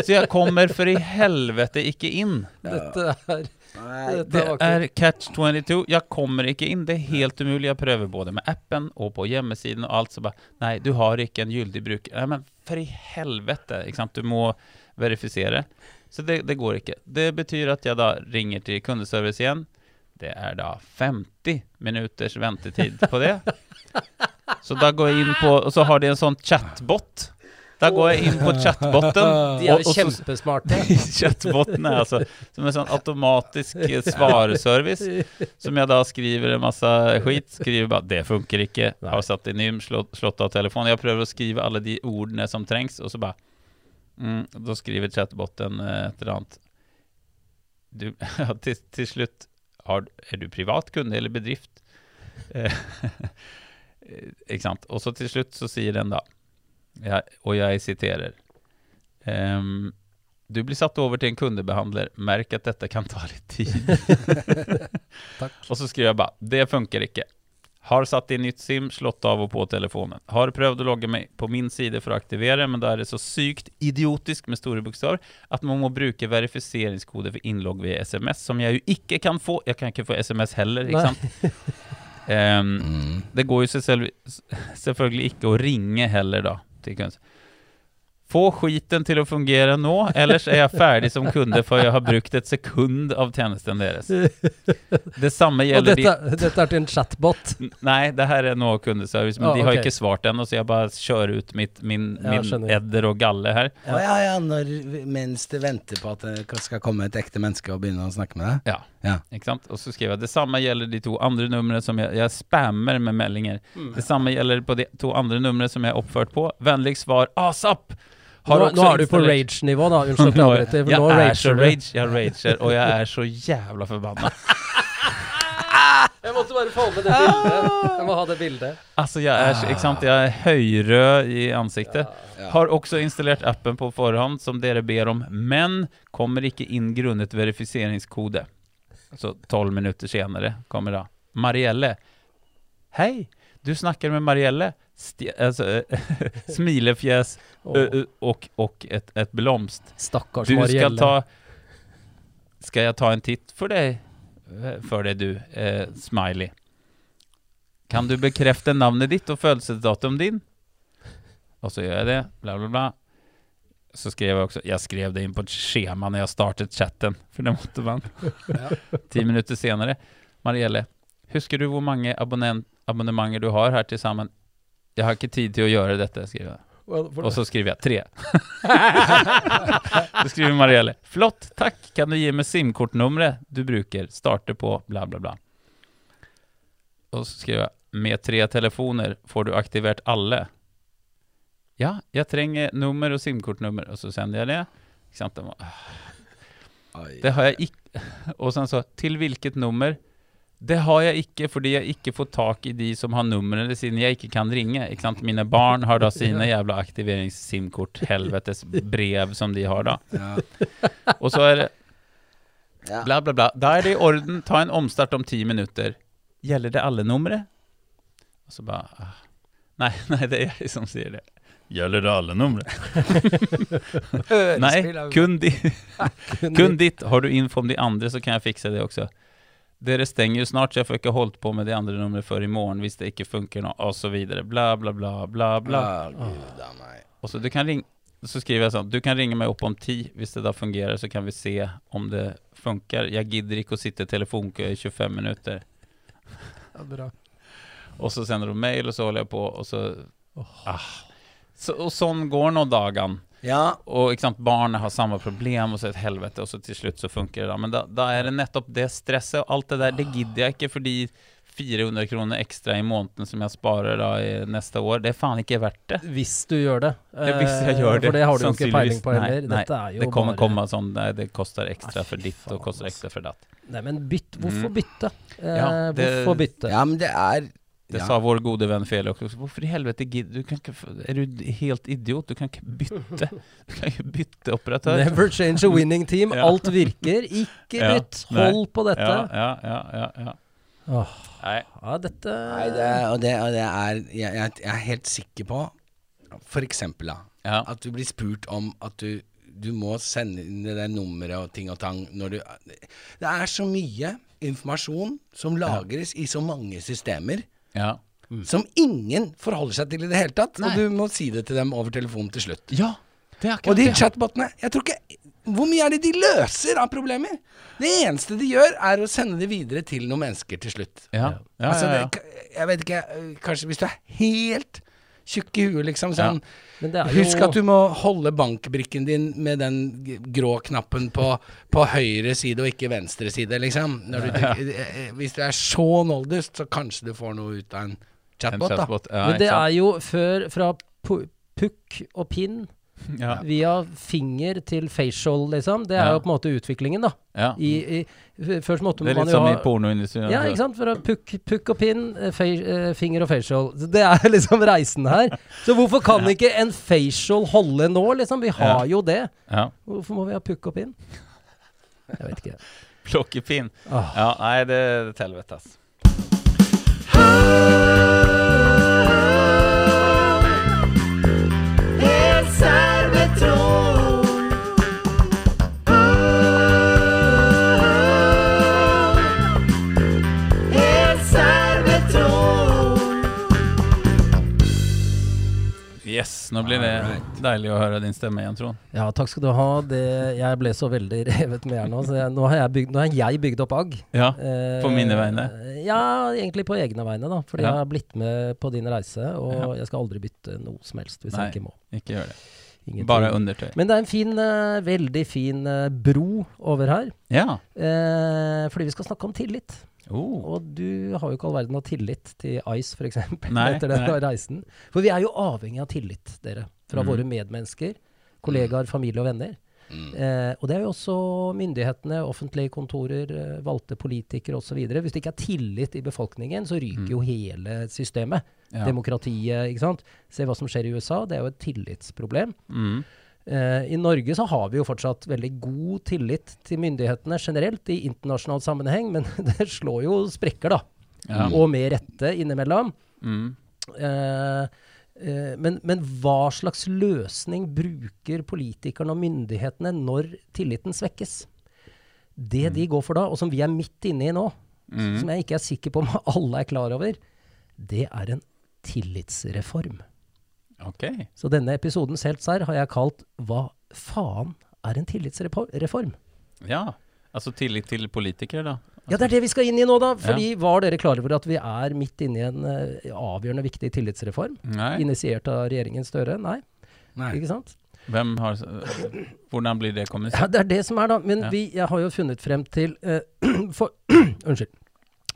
B: Så jeg kommer for i helvete ikke inn.
A: Dette er
C: Nei,
A: dette
B: Det
A: var ikke-
B: er catch 22. Jeg kommer ikke inn. Det er helt umulig. Jeg prøver både med appen og på hjemmesiden og alt. Så bare Nei, du har ikke en gyldig bruk. Nei, men for i helvete! Ikke sant? Du må verifisere. Så det, det går ikke. Det betyr at jeg da ringer til kundeservice igjen. Det er da 50 minutters ventetid på det. Så da går jeg inn på Og så har de en sånn chatbot. Da går jeg inn på chatboten.
A: [LAUGHS] De er
B: og- og
A: jo
B: så- [LAUGHS]
A: kjempesmarte.
B: Chatboten er altså som en sånn automatisk eh, svareservice. Som jeg da skriver en masse skit. Skriver bare 'det funker ikke', har satt i nym, slått, slått av telefonen. Jeg prøver å skrive alle de ordene som trengs, og så bare mm, Da skriver chatboten eh, et eller annet du, [LAUGHS] ja, til, til slutt har, Er du privat kunde eller bedrift? [LAUGHS] Eh, ikke sant. Og så til slutt så sier den da, jeg, og jeg siterer ehm, Du blir satt over til en kundebehandler. Merk at dette kan ta litt tid.
A: Takk.
B: Og så skriver jeg bare Det funker ikke. Har satt inn nytt SIM, slått av og på telefonen. Har prøvd å logge meg på min side for å aktivere, men da er det så sykt idiotisk med store bokstaver at man må bruke verifiseringskode for innlogg via SMS, som jeg jo ikke kan få. Jeg kan ikke få SMS heller,
A: Nei.
B: ikke sant? Ehm, det går jo selv, selvfølgelig ikke å ringe heller da, til kunden. Få skiten til å fungere nå, ellers er jeg ferdig som kunde for jeg har brukt et sekund av tjenesten deres. Det samme
A: Og
B: gjelder
A: dette, dette er til en
B: [LAUGHS]
A: chatbot.
B: de... Nei, det her er nå kundeservice, men
A: Ja,
B: de har
A: Ah, ok.
B: ikke svart ennå, så jeg bare kjører ut mitt, min,
A: Ja,
B: min
A: skjønner.
B: edder og galle her.
C: Å ja, ja, når, mens det venter på at det skal komme et ekte menneske og begynne å snakke med deg.
B: Ja.
C: Ja.
B: Ikke sant? Og så skriver jeg det samme gjelder de to andre numrene som jeg, jeg spammer med meldinger. Det samme gjelder på de to andre numrene som jeg er oppført på. Vennlig svar ASAP!
A: Nå, nå
B: også
A: er du på
B: installert-
A: rage-nivå, da.
B: [LAUGHS]
A: Unnskyld at jeg
B: Nå-
A: avbryter. for
B: jeg
A: Nå
B: er så
A: rager du.
B: rage, jeg rager, og jeg er så jævla forbanna.
A: Jeg måtte bare få med det bildet. Jeg må ha det bildet.
B: Altså, jeg er, så- ikke sant? Jeg er høyrød i ansiktet. Har også installert appen på forhånd, som dere ber om, men kommer ikke inn grunnet verifiseringskode. Så tolv minutter senere kommer da Marielle. Hei, du snakker med Marielle. Sti altså, [LAUGHS] smilefjes
A: Åh.
B: ø- ø- og, og et, et blomst.
A: Stakkars
B: Du skal
A: Marielle.
B: ta Skal jeg ta en titt for deg eh, For deg du, eh, smiley Kan du bekrefte navnet ditt Og fødselsdatum din? Og så gjør jeg det, bla bla bla Så skrev jeg også Jeg skrev det inn på et skjema når jeg startet chatten For det måtte man [LAUGHS] Ti minutter senere Marielle, husker du hvor mange abonnent, abonnementer du har her til sammen? Jeg har ikke tid til å gjøre dette, skriver jeg og
A: [LAUGHS]
B: så skriver jeg tre. så skriver Marielle. Flott, takk. Kan du gi meg SIM-kortnummeret du bruker? Starte på bla, bla, bla. Og så skriver jeg. Med tre telefoner får du aktivert alle. Ja, jeg trenger nummer og SIM-kortnummer. Og så sender jeg det. Ikke sant? Den var-
C: Oi.
B: det har jeg ikke [LAUGHS] Og sen så Til hvilket nummer? Det har jeg ikke fordi jeg ikke får tak i de som har numrene siden jeg ikke kan ringe. Ikke sant? Mine barn har
C: [LAUGHS]
B: da sine jævla aktiverings-SIM-kort, helvetes brev som de har da.
C: Ja.
B: [LAUGHS] Og så er det
C: Ja.
B: bla, bla, bla. Da er det i orden. Ta en omstart om ti minutter. Gjelder det alle numre? Og så bare ah. Nei, [LAUGHS] nei, det er jeg som sier det. Gjelder det alle numre? Nei, kun de kun ditt. Har du info om de andre så kan jeg fikse det også. Dere stenger jo snart, så jeg får ikke holdt på med de andre numrene før i morgen hvis det ikke funker nå, og så videre. Bla, bla, bla, bla, bla.
C: Å, Gud a meg.
B: Og så du kan ringe så skriver jeg sånn, du kan ringe meg opp om ti, hvis det da fungerer så kan vi se om det funker. Jeg gidder ikke å sitte i telefonkø i 25 minutter. Og så sender hun mail, og så holder jeg på, og så... Ah. Så, og sånn går nå dagen.
C: Ja,
B: Og ikke sant, barnet har samme problem, og så et helvete, og så til slutt så funker det. da. Men da, da er det nettopp det stresset og alt det der, det gidder jeg ikke, fordi 400 kroner ekstra i måneden som jeg sparer da i neste år, det er faen ikke verdt det.
A: Hvis du gjør det.
B: Ja, hvis jeg
A: Eh,
B: gjør det,
A: For det har du jo ikke peiling
B: sannsynligvis.
A: på heller.
B: Nei, nei,
A: Dette er jo
B: Det kommer
A: bare
B: komme sånn nei, det koster ekstra
A: Ah,
B: for
A: fy
B: ditt og
A: faen,
B: koster
A: ass.
B: ekstra for datt.
A: Nei, men bytt. Hvorfor
B: Mm.
A: bytte? Eh,
B: Ja, det-
A: Hvorfor bytte?
C: ja men det er
B: Det
C: ja.
B: sa vår gode venn Felix også. Hvorfor i helvete gidder du? Kan ikke, f- er du helt idiot? Du kan ikke bytte, du kan ikke bytte operatør.
A: Never change a winning team.
B: [LAUGHS] Ja.
A: Alt virker. Ikke
B: Ja,
A: bytt. Hold på dette.
B: Ja, ja, ja. ja, ja. Nei.
A: Ja, dette
C: Nei, det, og det, og det er jeg, jeg, jeg er helt sikker på, for eksempel da,
B: Ja.
C: at du blir spurt om at du, du må sende inn det der nummeret og ting og tang når du Det er så mye informasjon som lagres i så mange systemer.
B: Ja.
C: Som ingen forholder seg til i det hele tatt.
B: Mm. Nei.
C: Og du må si det til dem over telefonen til slutt.
B: ja, det er akkurat
C: Og de
B: det.
C: chatbotene jeg tror ikke, Hvor mye er det de løser av problemer? Det eneste de gjør, er å sende det videre til noen mennesker til slutt.
B: Ja, ja,
C: altså,
B: ja, ja.
C: Det, jeg vet ikke øh, Kanskje hvis du er helt tjukk i huet, liksom sånn
A: Men det er jo
C: Husk at du må holde bankbrikken din med den g- grå knappen på, på høyre side og ikke venstre side, liksom. Når du, eh, eh, Hvis du er så noldust, så kanskje du får noe ut av en
B: En
C: chatbot, da.
B: chatbot, ja,
A: Men
B: ikke
A: det
B: sant?
A: er jo før fra pu- pukk og pinn
B: Ja.
A: Via finger til facial, liksom. Det er
B: Ja.
A: jo på en måte utviklingen, da.
B: ja.
A: I, i, f- først måtte
B: Det er
A: man
B: litt
A: jo
B: som
A: ha
B: i pornoindustrien.
A: Ja, ikke sant? For å pukk, pukk og pinn, eh, fa eh, finger og facial. Så Det er [LAUGHS] liksom reisen her. Så hvorfor kan ikke en facial holde nå, liksom? Vi har jo det.
B: Ja. [LAUGHS]
A: Hvorfor må vi ha pukk og pinn? [LAUGHS] Jeg vet ikke.
B: Plockepinn.
A: Ah.
B: Ja, nei, det er et helvete, ass. Yes, nå blir det deilig å høre din stemme igjen, Trond.
A: Ja, takk skal du ha. Det, jeg ble så veldig revet med her nå. Så jeg, nå, har jeg bygd, nå har jeg bygd opp agg.
B: Ja,
A: Eh,
B: på mine vegne.
A: Ja, egentlig på egne vegne, da. Fordi
B: Ja.
A: jeg har blitt med på din reise, og
B: Ja.
A: jeg skal aldri bytte noe som helst hvis
B: Nei.
A: jeg ikke må.
B: Ikke gjør det.
A: eh, Ingenting.
B: Bare undertøy.
A: Men det er en fin, eh, veldig fin eh, bro over her.
B: Ja.
A: Eh, fordi vi skal snakke om tillit.
B: Oh.
A: Og du har jo ikke all verden av tillit til Ice, f.eks.
B: Nei,
A: Etter den
B: nei.
A: reisen. For vi er jo avhengig av tillit, dere. Fra
B: Mm.
A: våre medmennesker, kollegaer, familie og venner.
C: Mm.
A: Eh, og det er jo også myndighetene, offentlige kontorer, eh, valgte politikere osv. Hvis det ikke er tillit i befolkningen, så ryker jo hele systemet.
B: Mm. Ja.
A: Demokratiet, ikke sant. Se hva som skjer i USA. Det er jo et tillitsproblem.
B: Mm.
A: Eh, I Norge så har vi jo fortsatt veldig god tillit til myndighetene generelt i internasjonal sammenheng, men [LAUGHS] det slår jo sprekker, da.
B: Ja.
A: Og med rette innimellom.
B: Mm.
A: Eh, eh, men, men hva slags løsning bruker politikerne og myndighetene når tilliten svekkes? Det de går for da, og som vi er midt inne i nå,
B: Mm.
A: som jeg ikke er sikker på om [LAUGHS] alle er klar over, det er en tillitsreform.
B: Ok.
A: Så denne episodens helt sær har jeg kalt Hva faen er en tillitsreform?
B: Ja. Altså tillit til politikere, da.
A: Ja, det er det vi skal inn i nå, da. Fordi var dere klar over at vi er midt inne i en eh, avgjørende viktig tillitsreform?
B: Mm. Nei.
A: Initiert av regjeringen Støre? Nei,
C: Nei.
A: ikke sant?
B: Hvem har Hvordan blir det kommunisert? [LAUGHS]
A: Ja, det er det som er, da. Men
B: Ja.
A: vi, jeg har jo funnet frem til eh, [CLEARS THROAT] for, Unnskyld.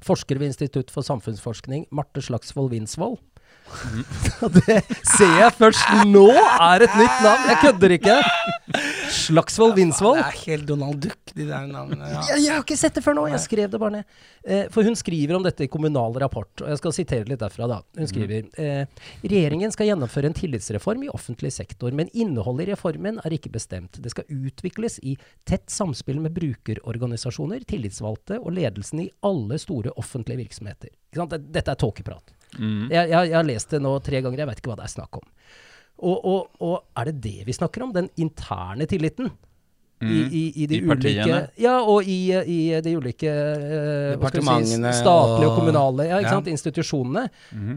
A: Forsker ved Institutt for samfunnsforskning, Marte Slagsvold Winsvold. [LAUGHS] Det ser jeg først nå er et nytt navn! Jeg kødder ikke! Slagsvold Winsvold.
C: Det er helt Donald Duck, de der navnene. Ja.
A: [LAUGHS] Jeg, jeg har ikke sett det før nå! Jeg skrev det bare ned. Eh, for hun skriver om dette i Kommunal rapport, og jeg skal sitere litt derfra, da. Hun skriver eh, Regjeringen skal gjennomføre en tillitsreform i offentlig sektor, men innholdet i reformen er ikke bestemt. Det skal utvikles i tett samspill med brukerorganisasjoner, tillitsvalgte og ledelsen i alle store offentlige virksomheter. Ikke sant? Det- Dette er tåkeprat. Jeg, jeg, jeg har lest det nå tre ganger, jeg veit ikke hva det er snakk om. Og, og, og er det det vi snakker om? Den interne tilliten? I, i, i de
B: Mm. I
A: ulike
B: partiene?
A: Ja, og i, eh, i eh, de ulike eh, hva skal vi si,
C: Departementene
A: statlige og
C: og-
A: kommunale ja, ikke
C: Ja.
A: sant? institusjonene.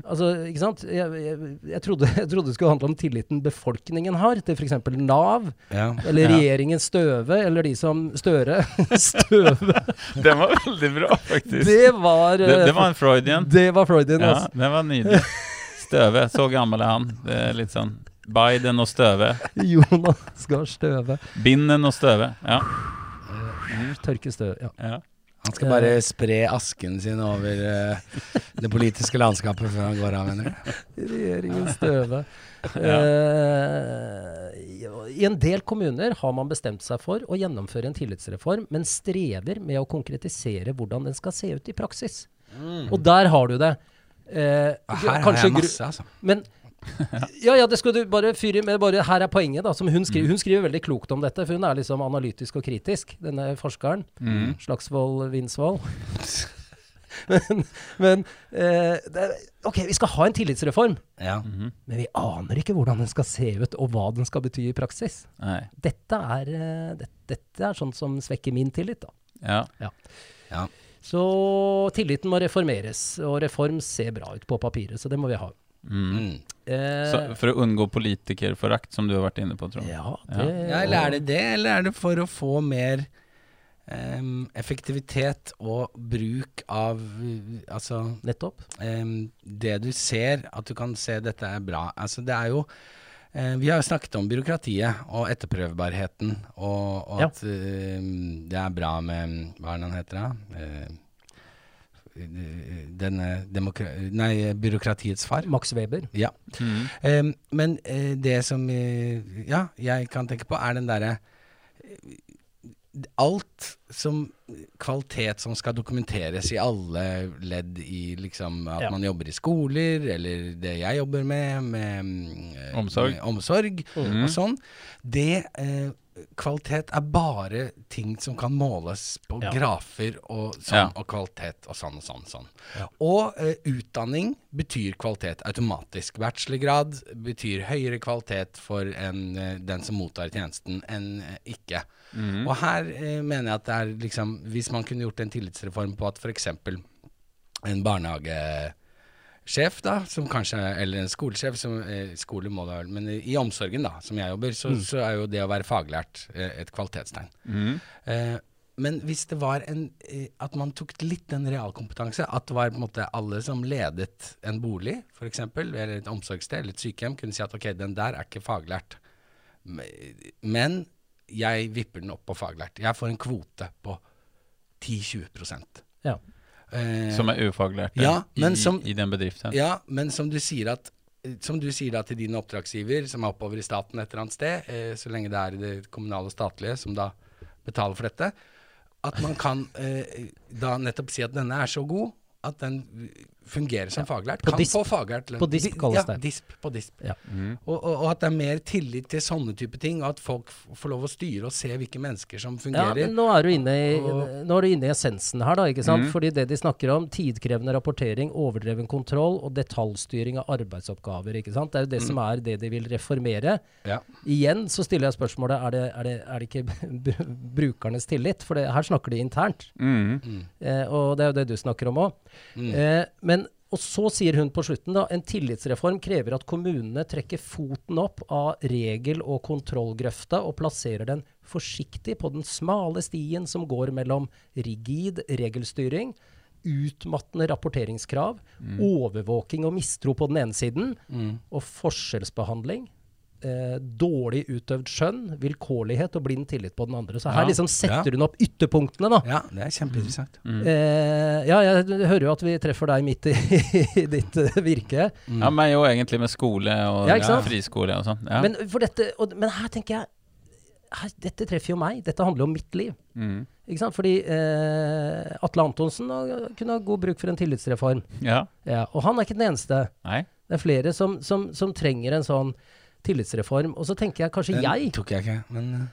A: Altså, ikke sant? Jeg, jeg, jeg, trodde, [LAUGHS] jeg trodde det skulle handle om tilliten befolkningen har til f.eks. Nav,
C: Ja.
A: eller regjeringen Støve, eller de som Støre [LAUGHS] Støve!
B: Den var veldig bra, faktisk.
A: Det var, eh,
B: Det, det var en Freudian.
A: det var Freudian,
B: Ja,
A: altså.
B: den var nydelig. Støve. Så gammel er han. Det er litt sånn Biden og Støve.
A: Jonas Gahr Støve.
B: Binden og Støve. Ja. Mm.
A: Tørke støv. Ja.
B: ja.
C: Han skal bare spre asken sin over eh, det politiske landskapet før han går av, mener du?
A: Regjeringen
C: [LAUGHS]
A: Støve. Eh, I en del kommuner har man bestemt seg for å gjennomføre en tillitsreform, men strever med å konkretisere hvordan den skal se ut i praksis. Og der har du det. Eh,
C: Mm. Her har
A: kanskje
C: jeg
A: gru-
C: masse, altså.
B: [LAUGHS]
C: [LAUGHS]
A: men ja, ja, det skal du bare fyre med. Bare, her er poenget, da. Som hun
C: Mm.
A: skriver. Hun skriver veldig klokt om dette, for hun er liksom analytisk og kritisk, denne forskeren.
C: Mm.
A: Slagsvold Winsvold. [LAUGHS] men men eh, det er, OK, vi skal ha en tillitsreform,
C: Ja.
B: Mhm.
A: men vi aner ikke hvordan den skal se ut, og hva den skal bety i praksis.
B: Nei.
A: Dette er, eh, det, dette er sånn som svekker min tillit, da.
B: Ja.
C: ja.
A: Så tilliten må reformeres, og reform ser bra ut på papiret, så det må vi ha.
C: Mm.
A: Eh,
B: Så for å unngå politikerforakt, som du har vært inne på, Trond.
A: ja,
B: Ja.
A: det,
C: ja, eller er det det, eller er det for å få mer em, effektivitet og bruk av eh, Altså
A: Nettopp.
C: em, det du ser, at du kan se dette er bra. Altså det er jo eh, Vi har jo snakket om byråkratiet og etterprøvbarheten, og, og
A: Ja.
C: at em, det er bra med Hva er det han heter, da? Eh, eh, denne demokra... Nei, byråkratiets far.
A: Max Weber.
C: Ja.
B: Mm.
C: Ehm, men eh, det som eh, ja, jeg kan tenke på, er den derre eh, Alt som Kvalitet som skal dokumenteres i alle ledd i liksom At
A: Ja.
C: man jobber i skoler, eller det jeg jobber med, med mm, eh,
B: Omsorg.
C: Med omsorg
B: Mm. Mhm.
C: og sånn. Det eh, Kvalitet er bare ting som kan måles på
A: Ja.
C: grafer og
B: Ja.
C: sånn, og kvalitet og sånn og sånn. sånn. Og eh, utdanning betyr kvalitet automatisk. Bachelorgrad betyr høyere kvalitet for en, eh, den som mottar tjenesten, enn eh, ikke.
B: Mm.
C: Og her eh, mener jeg at det er liksom Hvis man kunne gjort en tillitsreform på at f.eks. en barnehagesjef da, som kanskje, eller en skolesjef som, eh, Skole må da vel, men i, i omsorgen, da, som jeg jobber, så, så er jo det å være faglært eh, et kvalitetstegn.
B: Mm.
C: Eh, men hvis det var en eh, At man tok litt den realkompetanse, at det var på en måte alle som ledet en bolig, f.eks., eller et omsorgssted eller et sykehjem, kunne si at ok, den der er ikke faglært. M- Men jeg vipper den opp på faglært. Jeg får en kvote på 10-20
A: Ja.
C: eh,
B: Som er ufaglært
C: Ja, men
B: i,
C: som-
B: i den bedriften.
C: ja, men som du sier at som du sier da til din oppdragsgiver, som er oppover i staten et eller annet sted, eh, så lenge det er i det kommunale og statlige som da betaler for dette, at man kan eh, da nettopp si at denne er så god at den fungerer som faglært.
A: På
C: Kan
A: disp.
C: få faglært lønn.
A: På disp
C: Di-
A: kalles
C: ja,
A: det.
C: disp på disp.
A: Ja.
C: Og, og, og at det er mer tillit til sånne type ting, og at folk f- får lov å styre og se hvilke mennesker som
A: Ja,
C: fungerer.
A: men nå er, du inne i,
C: Og-
A: nå er du inne i essensen her, da. ikke sant? Fordi det de snakker om, tidkrevende rapportering, overdreven kontroll og detaljstyring av arbeidsoppgaver. ikke sant? Det er jo det som er det de vil reformere.
C: Ja.
A: Igjen så stiller jeg spørsmålet er det, er det, er det ikke [LAUGHS] br- brukernes tillit? For det, her snakker de internt.
B: Mm.
A: Eh, og det er jo det du snakker om òg. Eh, men og så sier hun på slutten da, en tillitsreform krever at kommunene trekker foten opp av regel- og kontrollgrøfta og plasserer den forsiktig på den smale stien som går mellom rigid regelstyring, utmattende rapporteringskrav, overvåking og mistro på den ene siden, og forskjellsbehandling, eh, dårlig utøvd skjønn, vilkårlighet og blind tillit på den andre. Så her
B: Ja,
A: liksom setter
C: ja.
A: hun opp ytterpunktene, da.
C: ja, det er kjempeinteressant.
A: Eh, ja, jeg hører jo at vi treffer deg midt i, [LAUGHS] i ditt eh, virke.
C: Mm.
B: Ja, meg òg, egentlig, med skole og
A: Ja, ikke sant?
B: friskole og sånn. Ja.
A: Men, for dette, og, men her tenker jeg her, Dette treffer jo meg. Dette handler jo om mitt liv.
B: Mm.
A: Ikke sant? Fordi eh, Atle Antonsen eh, kunne ha god bruk for en tillitsreform.
B: ja.
A: Ja, og han er ikke den eneste.
B: Nei.
A: Det er flere som, som, som trenger en sånn tillitsreform. Og så tenker jeg kanskje
C: Den
A: jeg
C: tok jeg ikke, men eh,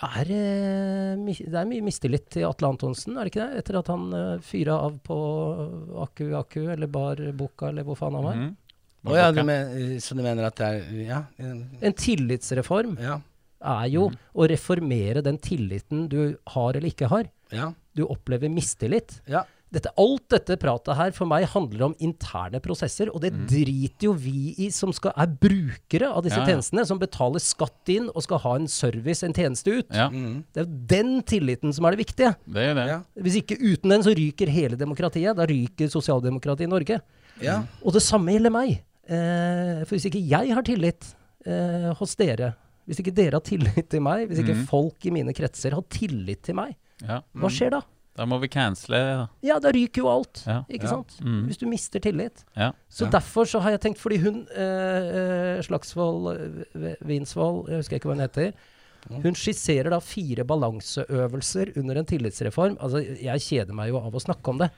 A: er, eh, mi- Det er mye mistillit til Atle Antonsen, er det ikke det? Etter at han eh, fyra av på Aku Aku, eller Bar Boka, eller hvor faen han var.
B: Mm.
C: Å ja, du men, Så du mener at det er Ja. eh,
A: En tillitsreform
C: ja.
A: er jo å reformere den tilliten du har eller ikke har.
C: Ja.
A: Du opplever mistillit.
C: ja.
A: Dette, alt dette pratet her for meg handler om interne prosesser, og det driter jo vi i som skal, er brukere av
B: Mm.
A: disse
B: Ja, ja.
A: tjenestene, som betaler skatt inn og skal ha en service, en tjeneste ut.
B: Ja,
A: Det er jo den tilliten som er det viktige.
B: det er jo det.
C: mm, Ja.
A: Hvis ikke uten den, så ryker hele demokratiet. Da ryker sosialdemokratiet i Norge.
C: ja.
A: Og det samme gjelder meg. Eh, for hvis ikke jeg har tillit eh, hos dere, hvis ikke dere har tillit til meg, hvis ikke
B: Mm.
A: folk i mine kretser har tillit til meg,
B: Ja.
A: hva skjer da?
B: Da må vi cancele. Ja.
A: Ja, da ryker jo alt,
B: Ja. Mm.
A: ikke sant? Hvis du mister tillit.
B: Ja.
A: Så derfor så har jeg tenkt, fordi hun eh, eh, Slagsvold eh, V- Vinsvold, jeg husker ikke hva hun heter, hun skisserer da fire balanseøvelser under en tillitsreform. Altså, jeg kjeder meg jo av å
B: [LAUGHS]
A: snakke om det.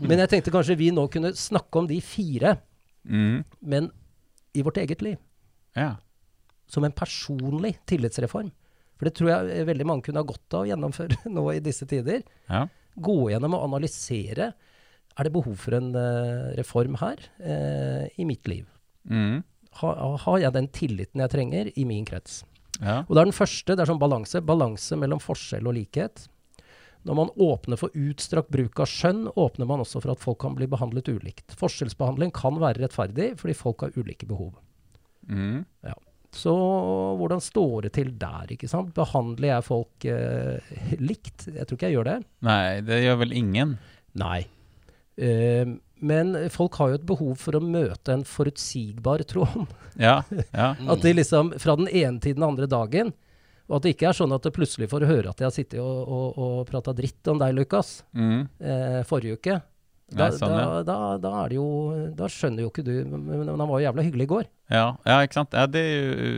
A: Men jeg tenkte kanskje vi nå kunne snakke om de fire,
B: Mm.
A: men i vårt eget liv.
B: ja.
A: Som en personlig tillitsreform. For det tror jeg eh, veldig mange kunne ha godt av å gjennomføre [LAUGHS] nå i disse tider.
B: ja.
A: Gå gjennom og analysere. Er det behov for en eh, reform her eh, i mitt liv?
B: Mm.
A: Ha- har jeg den tilliten jeg trenger i min krets?
B: ja.
A: Og det er den første, det er sånn balanse. Balanse mellom forskjell og likhet. Når man åpner for utstrakt bruk av skjønn, åpner man også for at folk kan bli behandlet ulikt. Forskjellsbehandling kan være rettferdig, fordi folk har ulike behov.
B: Mm.
A: Ja. Så hvordan står det til der, ikke sant? Behandler jeg folk eh, likt? Jeg tror ikke jeg gjør det.
B: Nei, det gjør vel ingen.
A: Nei. Eh, men folk har jo et behov for å møte en forutsigbar tråd.
B: Ja. ja.
A: At de liksom fra den ene til den andre dagen Og at det ikke er sånn at du plutselig får høre at jeg har sittet og, og, og prata dritt om deg, Lukas,
B: Mm.
A: eh, forrige uke. Da,
B: Nei, sånn, ja.
A: da, da, da er det jo Da skjønner jo ikke du Men men han var jo jævla hyggelig i går.
B: Ja, ja ikke sant? Ja, det er jo u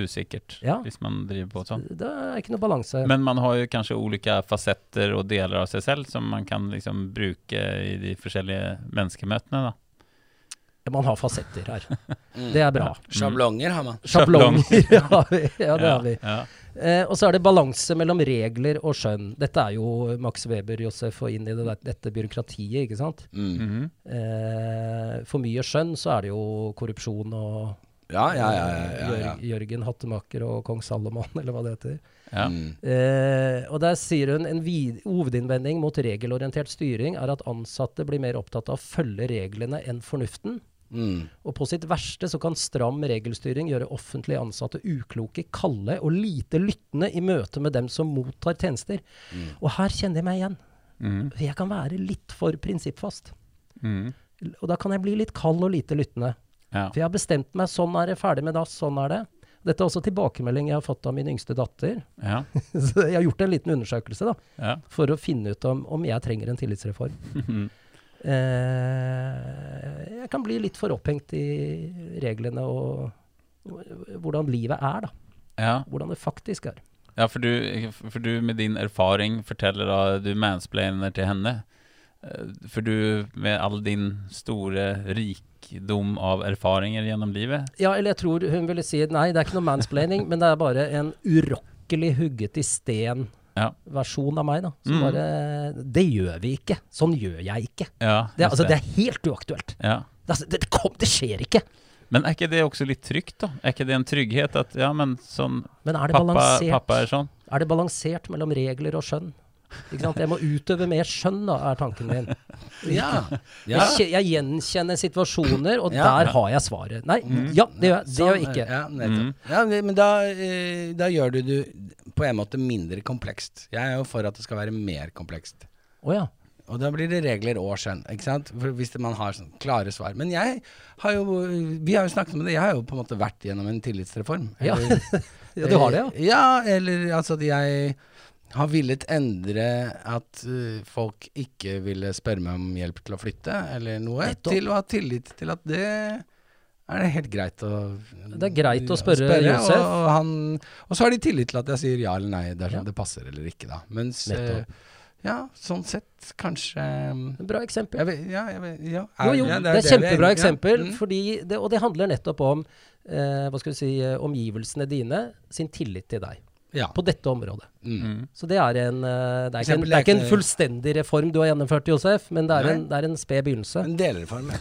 B: u usikkert
A: Ja.
B: hvis man driver på sånn.
A: Det er ikke noe balanse.
B: Men man har jo kanskje ulike fasetter og deler av seg selv som man kan liksom bruke i de forskjellige menneskemøtene. da.
A: Man har fasetter her.
C: Mm.
A: Det er bra.
B: [LAUGHS]
C: Sjablonger har man.
B: Sjablong.
A: Sjablonger har vi. [LAUGHS] Ja, det
B: ja,
A: har vi.
B: Ja.
A: Eh, og så er det balanse mellom regler og skjønn. Dette er jo Max Weber, Josef, og inn i det, der- dette byråkratiet, ikke sant.
C: Mm.
B: Mhm.
A: Eh, for mye skjønn, så er det jo korrupsjon og
C: Ja, ja, ja. ja, ja, ja.
A: Jør- Jørgen Hattemaker og kong Salomon, [LAUGHS] eller hva det heter.
B: ja.
C: Mm.
A: Eh, og der sier hun en vid hovedinnvending mot regelorientert styring er at ansatte blir mer opptatt av å følge reglene enn fornuften.
C: Mm.
A: Og på sitt verste så kan stram regelstyring gjøre offentlig ansatte ukloke, kalde og lite lyttende i møte med dem som mottar tjenester. Og her kjenner jeg meg igjen.
B: Mhm.
A: Jeg kan være litt for prinsippfast.
B: Mhm.
A: L- Og da kan jeg bli litt kald og lite lyttende.
B: ja.
A: For jeg har bestemt meg, sånn er det, ferdig med det, sånn er det. Dette er også tilbakemelding jeg har fått av min yngste datter. [LAUGHS]
B: Ja.
A: Så jeg har gjort en liten undersøkelse da,
B: Ja.
A: for å finne ut om, om jeg trenger en tillitsreform.
B: Mhm.
A: Eh, jeg kan bli litt for opphengt i reglene og og hvordan livet er, da.
B: [LAUGHS] ja.
A: Hvordan det faktisk er.
B: Ja, for du, for du med din erfaring forteller da du mansplainer til henne. Eh, For du med all din store rikdom av erfaringer gjennom livet.
A: Ja, eller jeg tror hun ville si nei, det er ikke noe mansplaining, men det er bare en urokkelig hugget i
B: Ja.
A: sten-versjon av meg, da. Som
B: Mm.
A: bare Det gjør vi ikke. Sånn gjør jeg ikke.
B: Ja,
A: Det, er-
B: just
A: altså, det er helt uaktuelt.
B: Ja.
A: Det, altså, det, det, kom, det skjer ikke.
B: Men er ikke det også litt trygt, da? Er ikke det en trygghet at ja, men sånn
A: Men er det
B: pappa,
A: balansert?
B: pappa er sånn?
A: Er det balansert mellom regler og skjønn? Ikke sant? Jeg må utøve mer skjønn, da, er tanken min.
C: ja. ja.
A: Jeg, kje- jeg gjenkjenner situasjoner, og
C: Ja.
A: der har jeg svaret. Nei,
C: Mm.
A: ja, det gjør jeg. Det gjør jeg
C: Sånn,
A: ikke.
C: Ja, nettopp. ja, men- men da, eh, da gjør du det på en måte mindre komplekst. Jeg er jo for at det skal være mer komplekst.
A: Å ja.
C: Og da blir det regler og skjønn, ikke sant? For hvis det- man har sånn klare svar. Men jeg har jo Vi har jo snakket om det. Jeg har jo på en måte vært gjennom en tillitsreform. Eh,
A: Ja.
C: Eller-
A: ja. Du har det, ja?
C: Eh, Ja, eller altså at jeg har villet endre at eh, folk ikke ville spørre meg om hjelp til å flytte, eller noe.
A: Nettopp.
C: Til å ha tillit til at det er det helt greit å
A: Det er greit å spørre Josef.
C: Og, og, han, og så har de tillit til at jeg sier ja eller nei dersom
A: Ja.
C: det passer eller ikke, da. Mens eh,
A: Nettopp.
C: Ja, sånn sett kanskje eh,
A: Bra eksempel.
C: jeg vet, ja, jeg vet, ja.
A: Jo, jo,
C: ja, Mm.
A: det er kjempebra eksempel, fordi det, og det handler nettopp om eh, hva skal vi si, eh, omgivelsene dine sin tillit til deg
C: Ja.
A: på dette området.
C: Mm.
B: Mm.
A: Så det er en, eh, det er ikke
C: Eksempel
A: en, det
C: er
A: er ikke en
C: ikke-
A: fullstendig reform du har gjennomført, Josef, men det er
C: Nei.
A: en, det er en sped begynnelse.
C: En delreform. ja.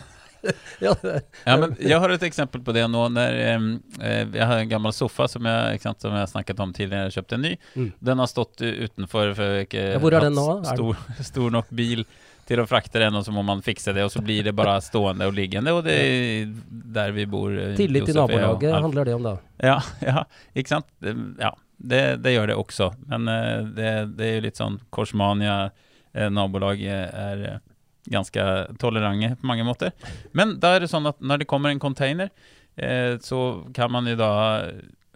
A: Ja, det er-
B: Ja, men jeg har et eksempel på det nå. Når, em, eh, jeg har en gammel sofa som jeg, ikke sant, som jeg har snakket om tidligere. Jeg kjøpte en ny.
A: Mm.
B: Den har stått eh, utenfor. For jeg har ikke
A: Ja, hvor er den
B: hatt
A: nå? Er
B: Stor, [LAUGHS] stor nok bil til å frakte den, og så må man fikse det. Og så blir det bare stående og liggende, og det er der vi bor. eh,
A: Tillit til
B: Josef og jeg og
A: nabolaget
B: Alf.
A: handler det om, da.
B: Ja, [LAUGHS] ja, ikke sant? Det- Ja, det, det gjør det også. Men eh, det, det er jo litt sånn Korsmania, eh, nabolaget er eh, ganske tolerante på mange måter. Men da er det sånn at når det kommer en container, eh, så kan man jo da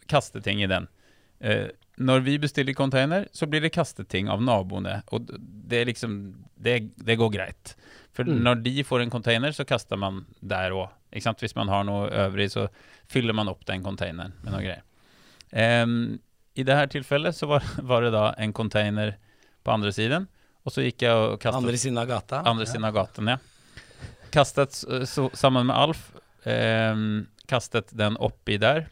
B: kaste ting i den. Eh, når vi bestiller container, så blir det kastet ting av naboene. Og d- det er liksom Det, det går greit. For
A: Mm.
B: når de får en container, så kaster man der òg. Hvis man har noe øvrig, så fyller man opp den containeren med noe greier. Ehm, I det her tilfellet så var, [LAUGHS] var det da en container på andre siden, og så gikk jeg og kastet
C: Andre siden av gata.
A: Ah,
B: Andre siden av gatan, ja. Kastet eh, så, sammen med Alf, ehm, kastet den oppi der.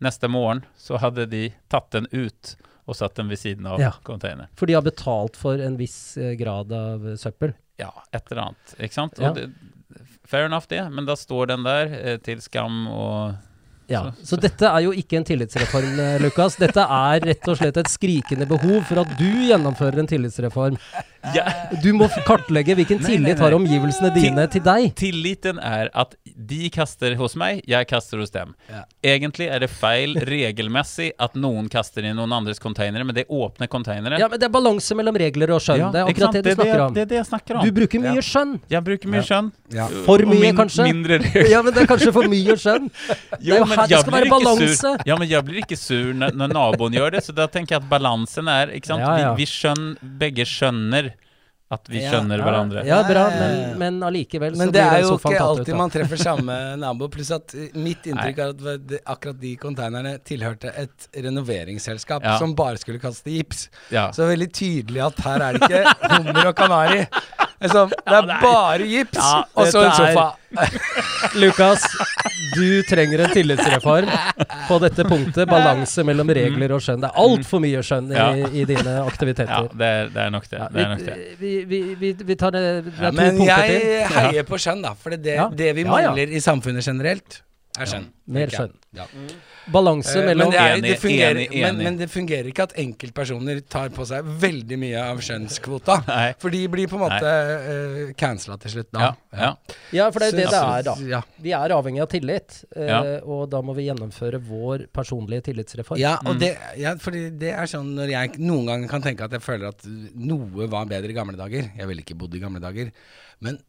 B: Neste morgen så hadde de tatt den ut og satt den ved siden av
A: Ja.
B: containeren.
A: For de har betalt for en viss eh, grad av eh, søppel.
B: Ja, et eller annet, ikke sant?
A: Ja.
B: Og det, fair enough det, men da står den der eh, til skam og
A: Ja. Så dette er jo ikke en tillitsreform, eh, Lukas. Dette er rett og slett et skrikende behov for at du gjennomfører en tillitsreform. Du må f- kartlegge
B: Nei,
A: hvilken
B: nei,
A: tillit
B: nei.
A: har omgivelsene dine til deg.
B: Tilliten er at de kaster hos meg, jeg kaster hos dem.
C: Ja.
B: Egentlig er det feil regelmessig at noen kaster i noen andres containere, men det er åpne containere.
A: Ja, men Det er balanse mellom regler og skjønn. det er
B: ikke sant?
A: akkurat det du snakker om.
B: Det er det jeg snakker om.
A: Du bruker mye
C: Ja.
A: skjønn.
B: jeg bruker mye skjønn.
C: Ja.
A: For
B: og
A: mye, kanskje?
B: Mindre regler.
A: Ja, men [LAUGHS] det er kanskje for mye skjønn. Det er jo
B: men
A: her det
B: jeg
A: skal
B: blir
A: være
B: ikke
A: balanse.
B: Sur. Ja, men jeg blir ikke sur når, når naboen gjør det, så da tenker jeg at balansen er ikke sant?
A: Ja, ja.
B: Vi, vi skjønner, begge skjønner At vi
C: Ja,
B: skjønner
A: Ja,
B: hverandre.
A: Ja, bra,
C: Ja, ja, ja.
A: men, men allikevel så
C: Men
A: blir
C: det er jo
A: jo
C: ikke
A: sofaen tatt ut.
C: alltid
A: da.
C: man treffer
A: [LAUGHS]
C: samme nabo. Pluss at eh, mitt inntrykk er at det- akkurat de konteinerne tilhørte et renoveringsselskap
B: Ja.
C: som bare skulle kaste gips.
B: Ja.
C: Så veldig tydelig at her er det
A: [LAUGHS]
C: ikke hummer og kanari. Altså, det er
B: det er-
C: bare gips
B: Ja,
C: og Altså, så en
A: dette er-
C: sofa.
A: [LAUGHS] Lukas, du trenger en tillitsreform på dette punktet. Balanse mellom
C: Mm.
A: regler og skjønn. Det er altfor mye skjønn i,
B: Ja.
A: i dine
B: ja,
A: aktiviteter.
B: det er, det er nok det.
A: Ja,
B: det, er nok det.
A: vi, vi, vi, vi, vi tar det, det er
C: Ja,
A: to
C: men
A: punkter
C: jeg
A: til.
C: heier på skjønn, da. For det,
A: Ja.
C: det vi
A: Ja, ja.
C: mangler i samfunnet generelt, er skjønn. tenker
A: Mer
C: jeg.
A: skjønn.
C: Ja.
A: Balanse
C: Eh, Men
A: mellom
C: det, er,
B: Enig,
C: det fungerer,
B: enig,
C: Men,
B: enig.
C: men det fungerer ikke at enkeltpersoner tar på seg veldig mye av skjønnskvota.
B: [LAUGHS] Nei.
C: For de blir på en måte uh, cancela til slutt, da.
B: Ja, ja.
A: Ja, for det er jo det det
C: Så-
A: er, da.
C: Ja.
A: Vi er avhengig av tillit, eh,
B: Ja.
A: og da må vi gjennomføre vår personlige tillitsreform.
C: Ja,
B: Mm.
C: og det, ja, fordi det er sånn når jeg noen ganger kan tenke at jeg føler at noe var bedre i gamle dager. Jeg ville ikke bodd i gamle dager. Men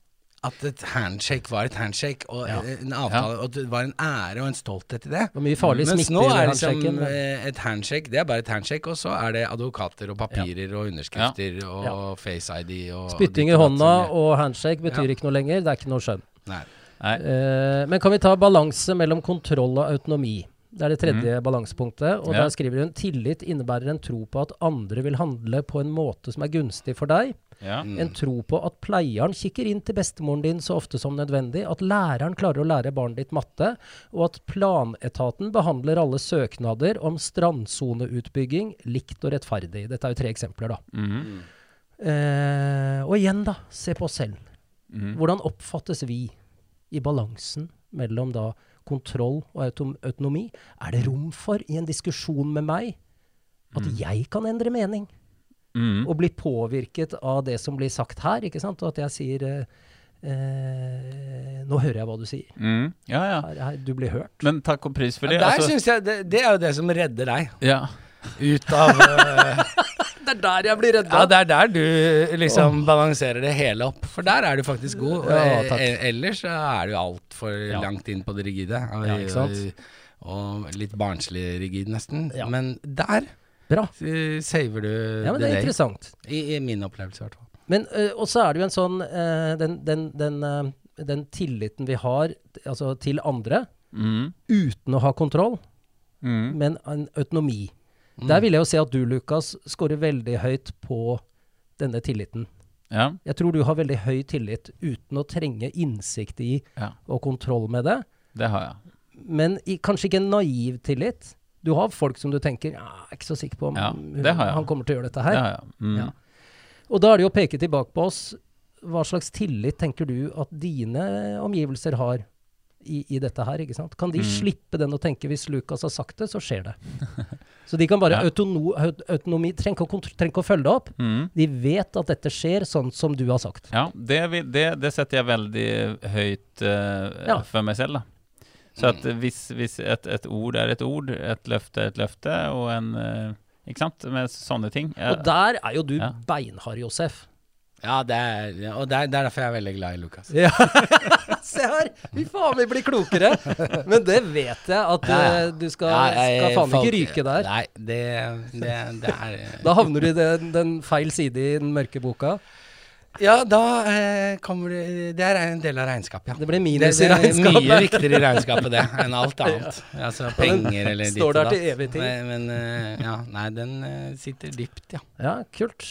C: at et handshake var et handshake, og eh, en avtale, og det var en ære og en stolthet i det.
A: Det var mye farlig
C: Mens
A: smitte
C: nå er
A: i den
C: det liksom
A: handshaken. men-
C: eh, et handshake, det er bare et handshake, og så er det advokater og papirer og underskrifter og
A: Ja.
C: face ID og
A: Spytting i
C: ditt og datt
A: hånda
C: som det-
A: og handshake betyr
C: Ja.
A: ikke noe lenger. Det er ikke noe skjønn.
C: Nei.
B: Nei.
A: Eh, men kan vi ta balanse mellom kontroll og autonomi? Det er det tredje balansepunktet. Og
B: Mm. Ja.
A: der skriver hun tillit innebærer en tro på at andre vil handle på en måte som er gunstig for deg.
B: Ja.
A: En tro på at pleieren kikker inn til bestemoren din så ofte som nødvendig. At læreren klarer å lære barnet ditt matte. Og at planetaten behandler alle søknader om strandsoneutbygging likt og rettferdig. Dette er jo tre eksempler, da.
B: Mhm.
A: Eh, og igjen, da. Se på oss selv.
B: Mhm.
A: Hvordan oppfattes vi i balansen mellom da kontroll og autom autonomi? Er det rom for i en diskusjon med meg at jeg kan endre mening?
B: Mhm.
A: Og bli påvirket av det som blir sagt her, ikke sant? Og at jeg sier eh, eh, Nå hører jeg hva du sier.
B: Mhm. Ja, ja.
A: Her, her, du blir hørt.
B: Men takk og pris for det.
C: Der
B: altså.
C: synes jeg det, det er jo det som redder deg
B: ja.
C: ut av eh,
A: Det er der jeg blir
C: [LAUGHS] Ja, det er der du liksom balanserer det hele opp. For der er du faktisk god. og,
A: Ja,
C: eh,
A: takk.
C: eh, ellers så er du altfor langt inn på det rigide. Og,
A: Ja, ikke sant?
C: og litt barnslig rigid, nesten.
A: Ja.
C: Men der
A: Bra.
C: eh, saver du
A: Ja, men
C: the
A: det er
C: day.
A: interessant.
C: I, I min opplevelse, i hvert fall.
A: Men ø, og så er det jo en sånn ø, den, den, den, ø, den tilliten vi har t- altså, til andre
B: Mhm.
A: uten å ha kontroll,
B: Mhm.
A: men en autonomi. Der vil jeg jo se at du, Lukas, scorer veldig høyt på denne tilliten.
B: ja.
A: Jeg tror du har veldig høy tillit uten å trenge innsikt i
B: Ja.
A: og kontroll med det.
B: Det har jeg.
A: Men i, kanskje ikke en naiv tillit. Du har folk som du tenker ja, jeg er ikke så sikker på om
B: Ja,
A: hun-
B: det har jeg.
A: han kommer til å gjøre dette
B: Det
A: her.
B: har jeg. Mhm.
A: Ja. Og da er det jo å peke tilbake på oss. Hva slags tillit tenker du at dine omgivelser har i, i dette her? ikke sant? Kan
B: Mm.
A: de slippe den å tenke hvis Lukas har sagt det, så
B: [LAUGHS]
A: skjer det. Så de kan bare
B: Ja.
A: autono, aut- autonomi Trenger ikke å kontro- trenger ikke å følge det opp.
B: Mhm.
A: De vet at dette skjer sånn som du har sagt.
B: Ja, det, vil- det, det setter jeg veldig høyt eh,
A: Ja.
B: for meg selv, da. Så at hvis, hvis et, et ord er et ord, et løfte er et løfte, og en eh, Ikke sant? Med sånne ting. eh,
A: Og der er jo du
B: Ja.
A: beinhard, Josef.
C: Ja, det er, ja, og det er, det er derfor jeg er veldig glad i Lukas.
A: [LAUGHS] Se her! Fy faen, vi blir klokere! Men det vet jeg at eh, du skal, skal faen ikke ryke der.
C: Nei, det, det, det er
A: Da havner du i den, den feil side i den mørke boka.
C: Ja, da eh, kommer det Det er en del av regnskapet, ja.
A: Det ble minus i
C: Det
A: regnskapet.
C: [LAUGHS] er mye viktigere i regnskapet det enn alt annet. Altså penger eller ditt
A: Står
C: og
A: der
C: datt.
A: til evig tid.
C: Men, men, eh, ja, nei, den eh, sitter dypt, ja.
A: Ja, kult.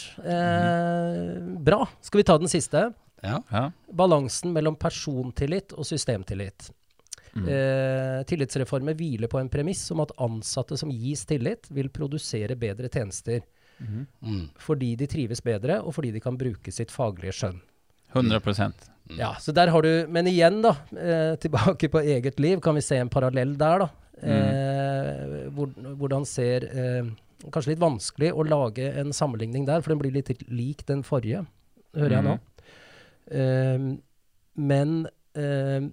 A: Eh, bra. Skal vi ta den siste?
C: ja.
B: Ja.
A: Balansen mellom persontillit og systemtillit.
C: Mm.
A: Eh, tillitsreformer hviler på en premiss om at ansatte som gis tillit, vil produsere bedre tjenester.
C: Mm.
A: Fordi de trives bedre, og fordi de kan bruke sitt faglige skjønn.
B: 100
A: Ja, så der har du, Men igjen, da. Eh, tilbake på eget liv, kan vi se en parallell der, da. Eh, hvor, hvordan ser eh, Kanskje litt vanskelig å lage en sammenligning der, for den blir litt lik den forrige, hører jeg nå. Eh, men eh,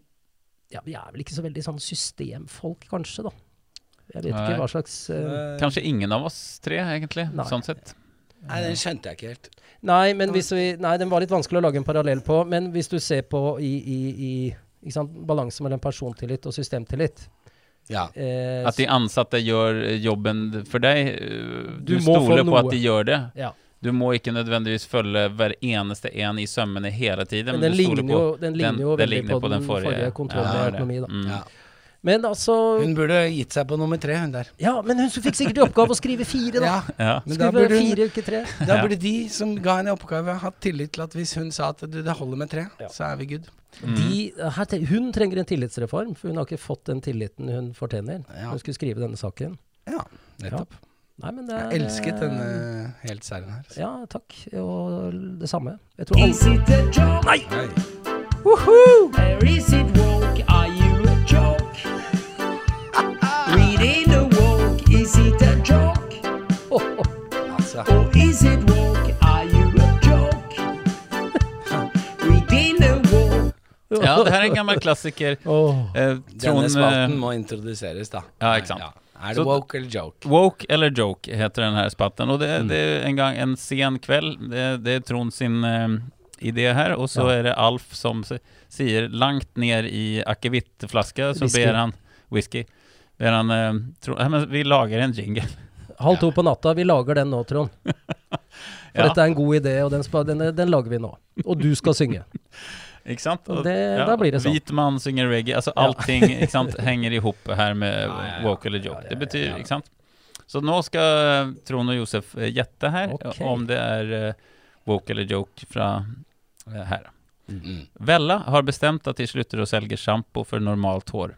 A: ja, vi er vel ikke så veldig sånn systemfolk, kanskje, da. Jeg vet
B: Nei.
A: ikke hva slags eh,
B: Kanskje ingen av oss tre, egentlig.
A: Nei.
B: Sånn sett.
C: Nei, den skjønte jeg ikke helt.
A: Nei, men hvis vi, nei, den var litt vanskelig å lage en parallell på. Men hvis du ser på i, i, i ikke sant, balanse mellom persontillit og systemtillit
C: Ja.
A: eh,
B: At de ansatte gjør jobben for deg. eh, Du,
A: Du må få
B: stoler på
A: noe.
B: at de gjør det.
A: ja.
B: Du må ikke nødvendigvis følge hver eneste en i sømmene hele tiden. men
A: Men den
B: du stoler
A: ligner,
B: på-
A: jo, den ligner jo
B: den
A: veldig
B: ligner
A: på, den forrige, kontrollen
B: Ja,
A: i
B: det er det.
A: økonomi, da.
B: Mm.
C: Ja.
A: Men altså
C: Hun burde gitt seg på nummer tre, hun der.
A: Ja, men hun fikk sikkert i oppgave å skrive fire, da.
C: Ja,
B: Ja.
C: men da
A: Skrive
C: burde, hun,
A: fire, ikke tre.
C: da
B: Ja.
C: burde de som ga henne oppgave, hatt tillit til at hvis hun sa at du, det holder med tre,
A: Ja.
C: så er vi good.
B: Mm.
A: De, her, tre- hun trenger en tillitsreform, for hun har ikke fått den tilliten hun fortjener.
C: Ja.
A: Hun skulle skrive denne saken.
C: Ja, nettopp.
A: Nei, men det er,
C: Jeg elsket denne helt særen her.
A: Ja, takk. Og det samme. Jeg tror alle
E: Is it a joke? Nei!
C: Nei.
E: Or is it woke? Are you a joke? Reading a woke, is it a joke?
C: Altså,
E: Or is it woke? Are you a joke? [LAUGHS] Reading a woke.
B: ja, det her er en gammel klassiker.
A: Åh.
B: Eh, Trond,
C: denne spalten
B: eh,
C: må introduseres, da.
B: Ja, ikke sant.
C: Er
B: Så-
C: det woke eller joke?
B: Woke eller joke heter den her spalten. Og
C: Mm.
B: det, det er en gang en sen kveld. Det, det er Trond sin eh, idé her. Og så er det Alf som s- sier langt ned i akevittflaska, så
A: Whisky.
B: ber han Whisky. Ber han eh, Trond "Ja, men Vi lager en jingle.
A: Halv to på natta. Vi lager den
B: [LAUGHS]
A: nå, Trond. For
B: Ja.
A: dette er en god idé, og den, spa- den, den lager vi nå. Og du skal synge.
B: Ikke sant?
A: Og det- da blir det sånn.
B: Hvit mann synger reggae. Altså allting ikke sant,
A: [LAUGHS]
B: henger i hop her med woke eller joke. Det betyr, ikke sant? Så nå skal Trond og Josef eh, gjette her
A: Ok.
B: om det er eh, woke eller joke fra eh, her.
C: Mm.
B: Vella har bestämt att de slutter å selge shampoo för normalt hår.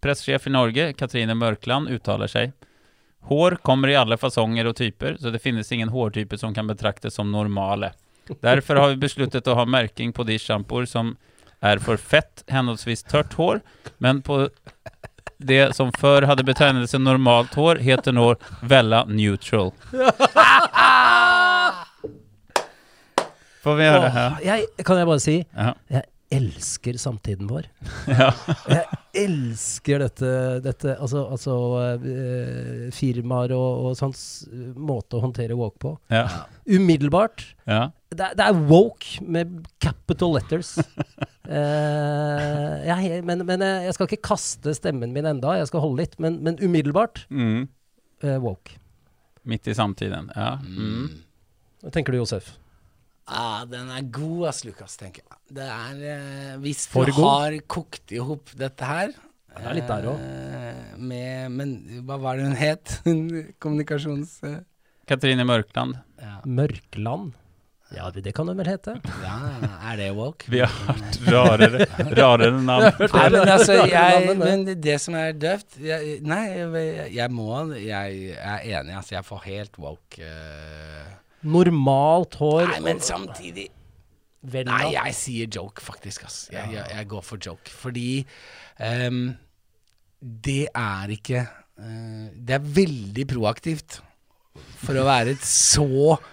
B: Presschef i Norge, Katrine Mørkland, uttaler seg. Hår kommer i alle fasonger og typer, så det finnes ingen hårtyper som kan betraktes som normale. Derfor har vi besluttet å ha märking på de shampoor som er for fett, henholdsvis tørt hår, men på det som før hadde betegnelsen normalt hår, heter nå Vella Neutral. Får vi høre her?
A: Jeg, kan jeg bare si
B: Ja.
A: jeg elsker samtiden vår.
B: Ja.
A: Jeg elsker dette, dette altså, altså eh, firmaer og, og sånns eh, måte å håndtere woke på.
B: Ja.
A: Umiddelbart.
B: Ja.
A: Det, er- det er woke med capital
C: [LAUGHS]
A: letters. Eh, jeg, er he- men, men eh, jeg skal ikke kaste stemmen min enda, jeg skal holde litt. Men, men umiddelbart
B: Mm.
A: eh, woke.
B: Midt i samtiden. Ja. Mm.
A: Hva tenker du, Josef?
C: Ah, den er god, ass, Lukas, tenker jeg. Det er, eh, hvis du
A: For god?
C: har kokt i hop dette her
A: det er litt der også.
C: eh, med, Men hva var det hun het? [LAUGHS] Hun Kommunikasjons... eh,
B: Katrine Mørkland.
C: ja.
A: Mørkland? Ja, det, det kan hun vel hete.
C: ja, er det woke?
B: Vi har hørt rarere, rarere navn.
C: Nei, men altså,
A: Det er
C: jeg,
A: navnet, det.
C: men det som er døvt jeg, Nei, jeg, jeg må Jeg er enig, altså. Jeg får helt woke eh.
A: Normalt hår.
C: Nei, men samtidig
A: Vel,
C: Nei,
A: da.
C: jeg sier joke, faktisk. Ass. Jeg, jeg, jeg går for joke. Fordi ehm, det er ikke eh, Det er veldig proaktivt for å være et så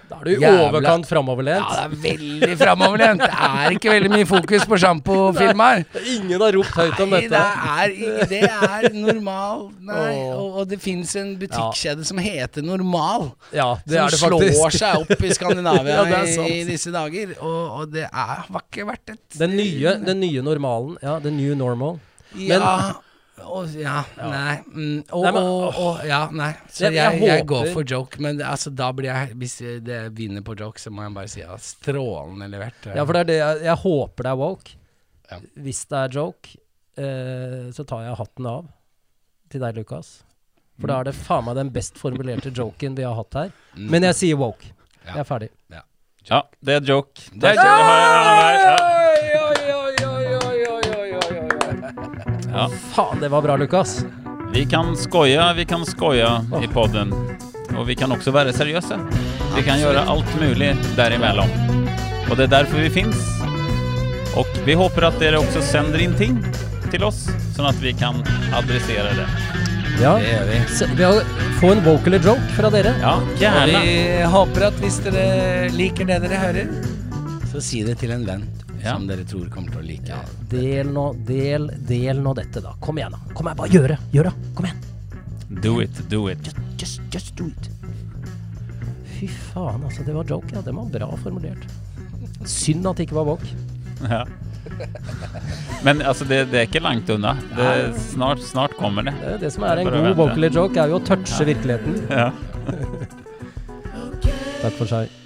A: Da er du i
C: jævla-
A: overkant
C: Ja,
A: framoverlent.
C: det er [LAUGHS] veldig framoverlent. Det er ikke veldig mye fokus på sjampofilmer.
A: Ingen har ropt høyt om
C: Nei, det
A: dette.
C: er, ikke- det er normal. Nei.
A: Åh.
C: Og, og det fins en butikkjede som heter Normal.
A: Ja, det er det
C: som slår
A: faktisk.
C: seg opp i Skandinavia
A: [LAUGHS] Ja, det er sant.
C: i, i disse dager. Og, og det er, har ikke vært et
A: Den nye, den nye normalen. Ja, the new normal. Men-
C: Ja. Og, ja, nei mm, og,
A: Nei, men-
C: og, og, Ja, nei. Så
A: Jeg-
C: jeg,
A: jeg
C: jeg,
A: håper-
C: går for joke, men det- altså, da blir jeg Hvis jeg- det vinner på joke, så må jeg bare si ja, strålende levert. eh.
A: Ja, for det er det jeg, jeg håper det er woke.
C: Ja.
A: Hvis det er joke, eh, så tar jeg hatten av til deg, Lukas. For da er det faen meg den best formulerte joken vi har hatt her. Men jeg sier woke.
C: Ja.
A: Jeg er ferdig.
B: [LAUGHS] Ja, det er joke. Det er
C: Det er
B: joke. Ja. Ja.
A: Faen, det var bra, Lukas.
B: Vi kan skoja, vi kan skoja i podden. Og vi kan også være seriøse. Vi kan gjøre alt mulig derimellom. Og det er derfor vi fins. Og vi håper at dere også sender inn ting til oss, sånn at vi kan adressere det.
A: Ja.
C: Det gjør vi.
A: Se, vi har, få en vocal joke fra dere.
B: Ja,
C: Og
B: gjerne.
C: vi håper at hvis dere liker det dere hører, så si det til en venn
B: Ja.
C: som dere tror kommer til å like.
A: Del nå, del, del nå dette, da. Kom igjen, da. Kom igjen, bare gjør det. Gjør det. Kom igjen.
B: Do it, do it.
A: Just, just do it. Fy faen, altså. Det var joke, ja. Den var bra formulert. Synd at det ikke var woke.
B: Ja. Men altså, det, det er ikke langt unna. Det, snart, snart kommer det.
A: Det er jo det som er en
B: Bare
A: god
B: vent, ja.
A: vocal joke, er jo å touche virkeligheten.
B: Ja.
A: [LAUGHS] Takk for seg.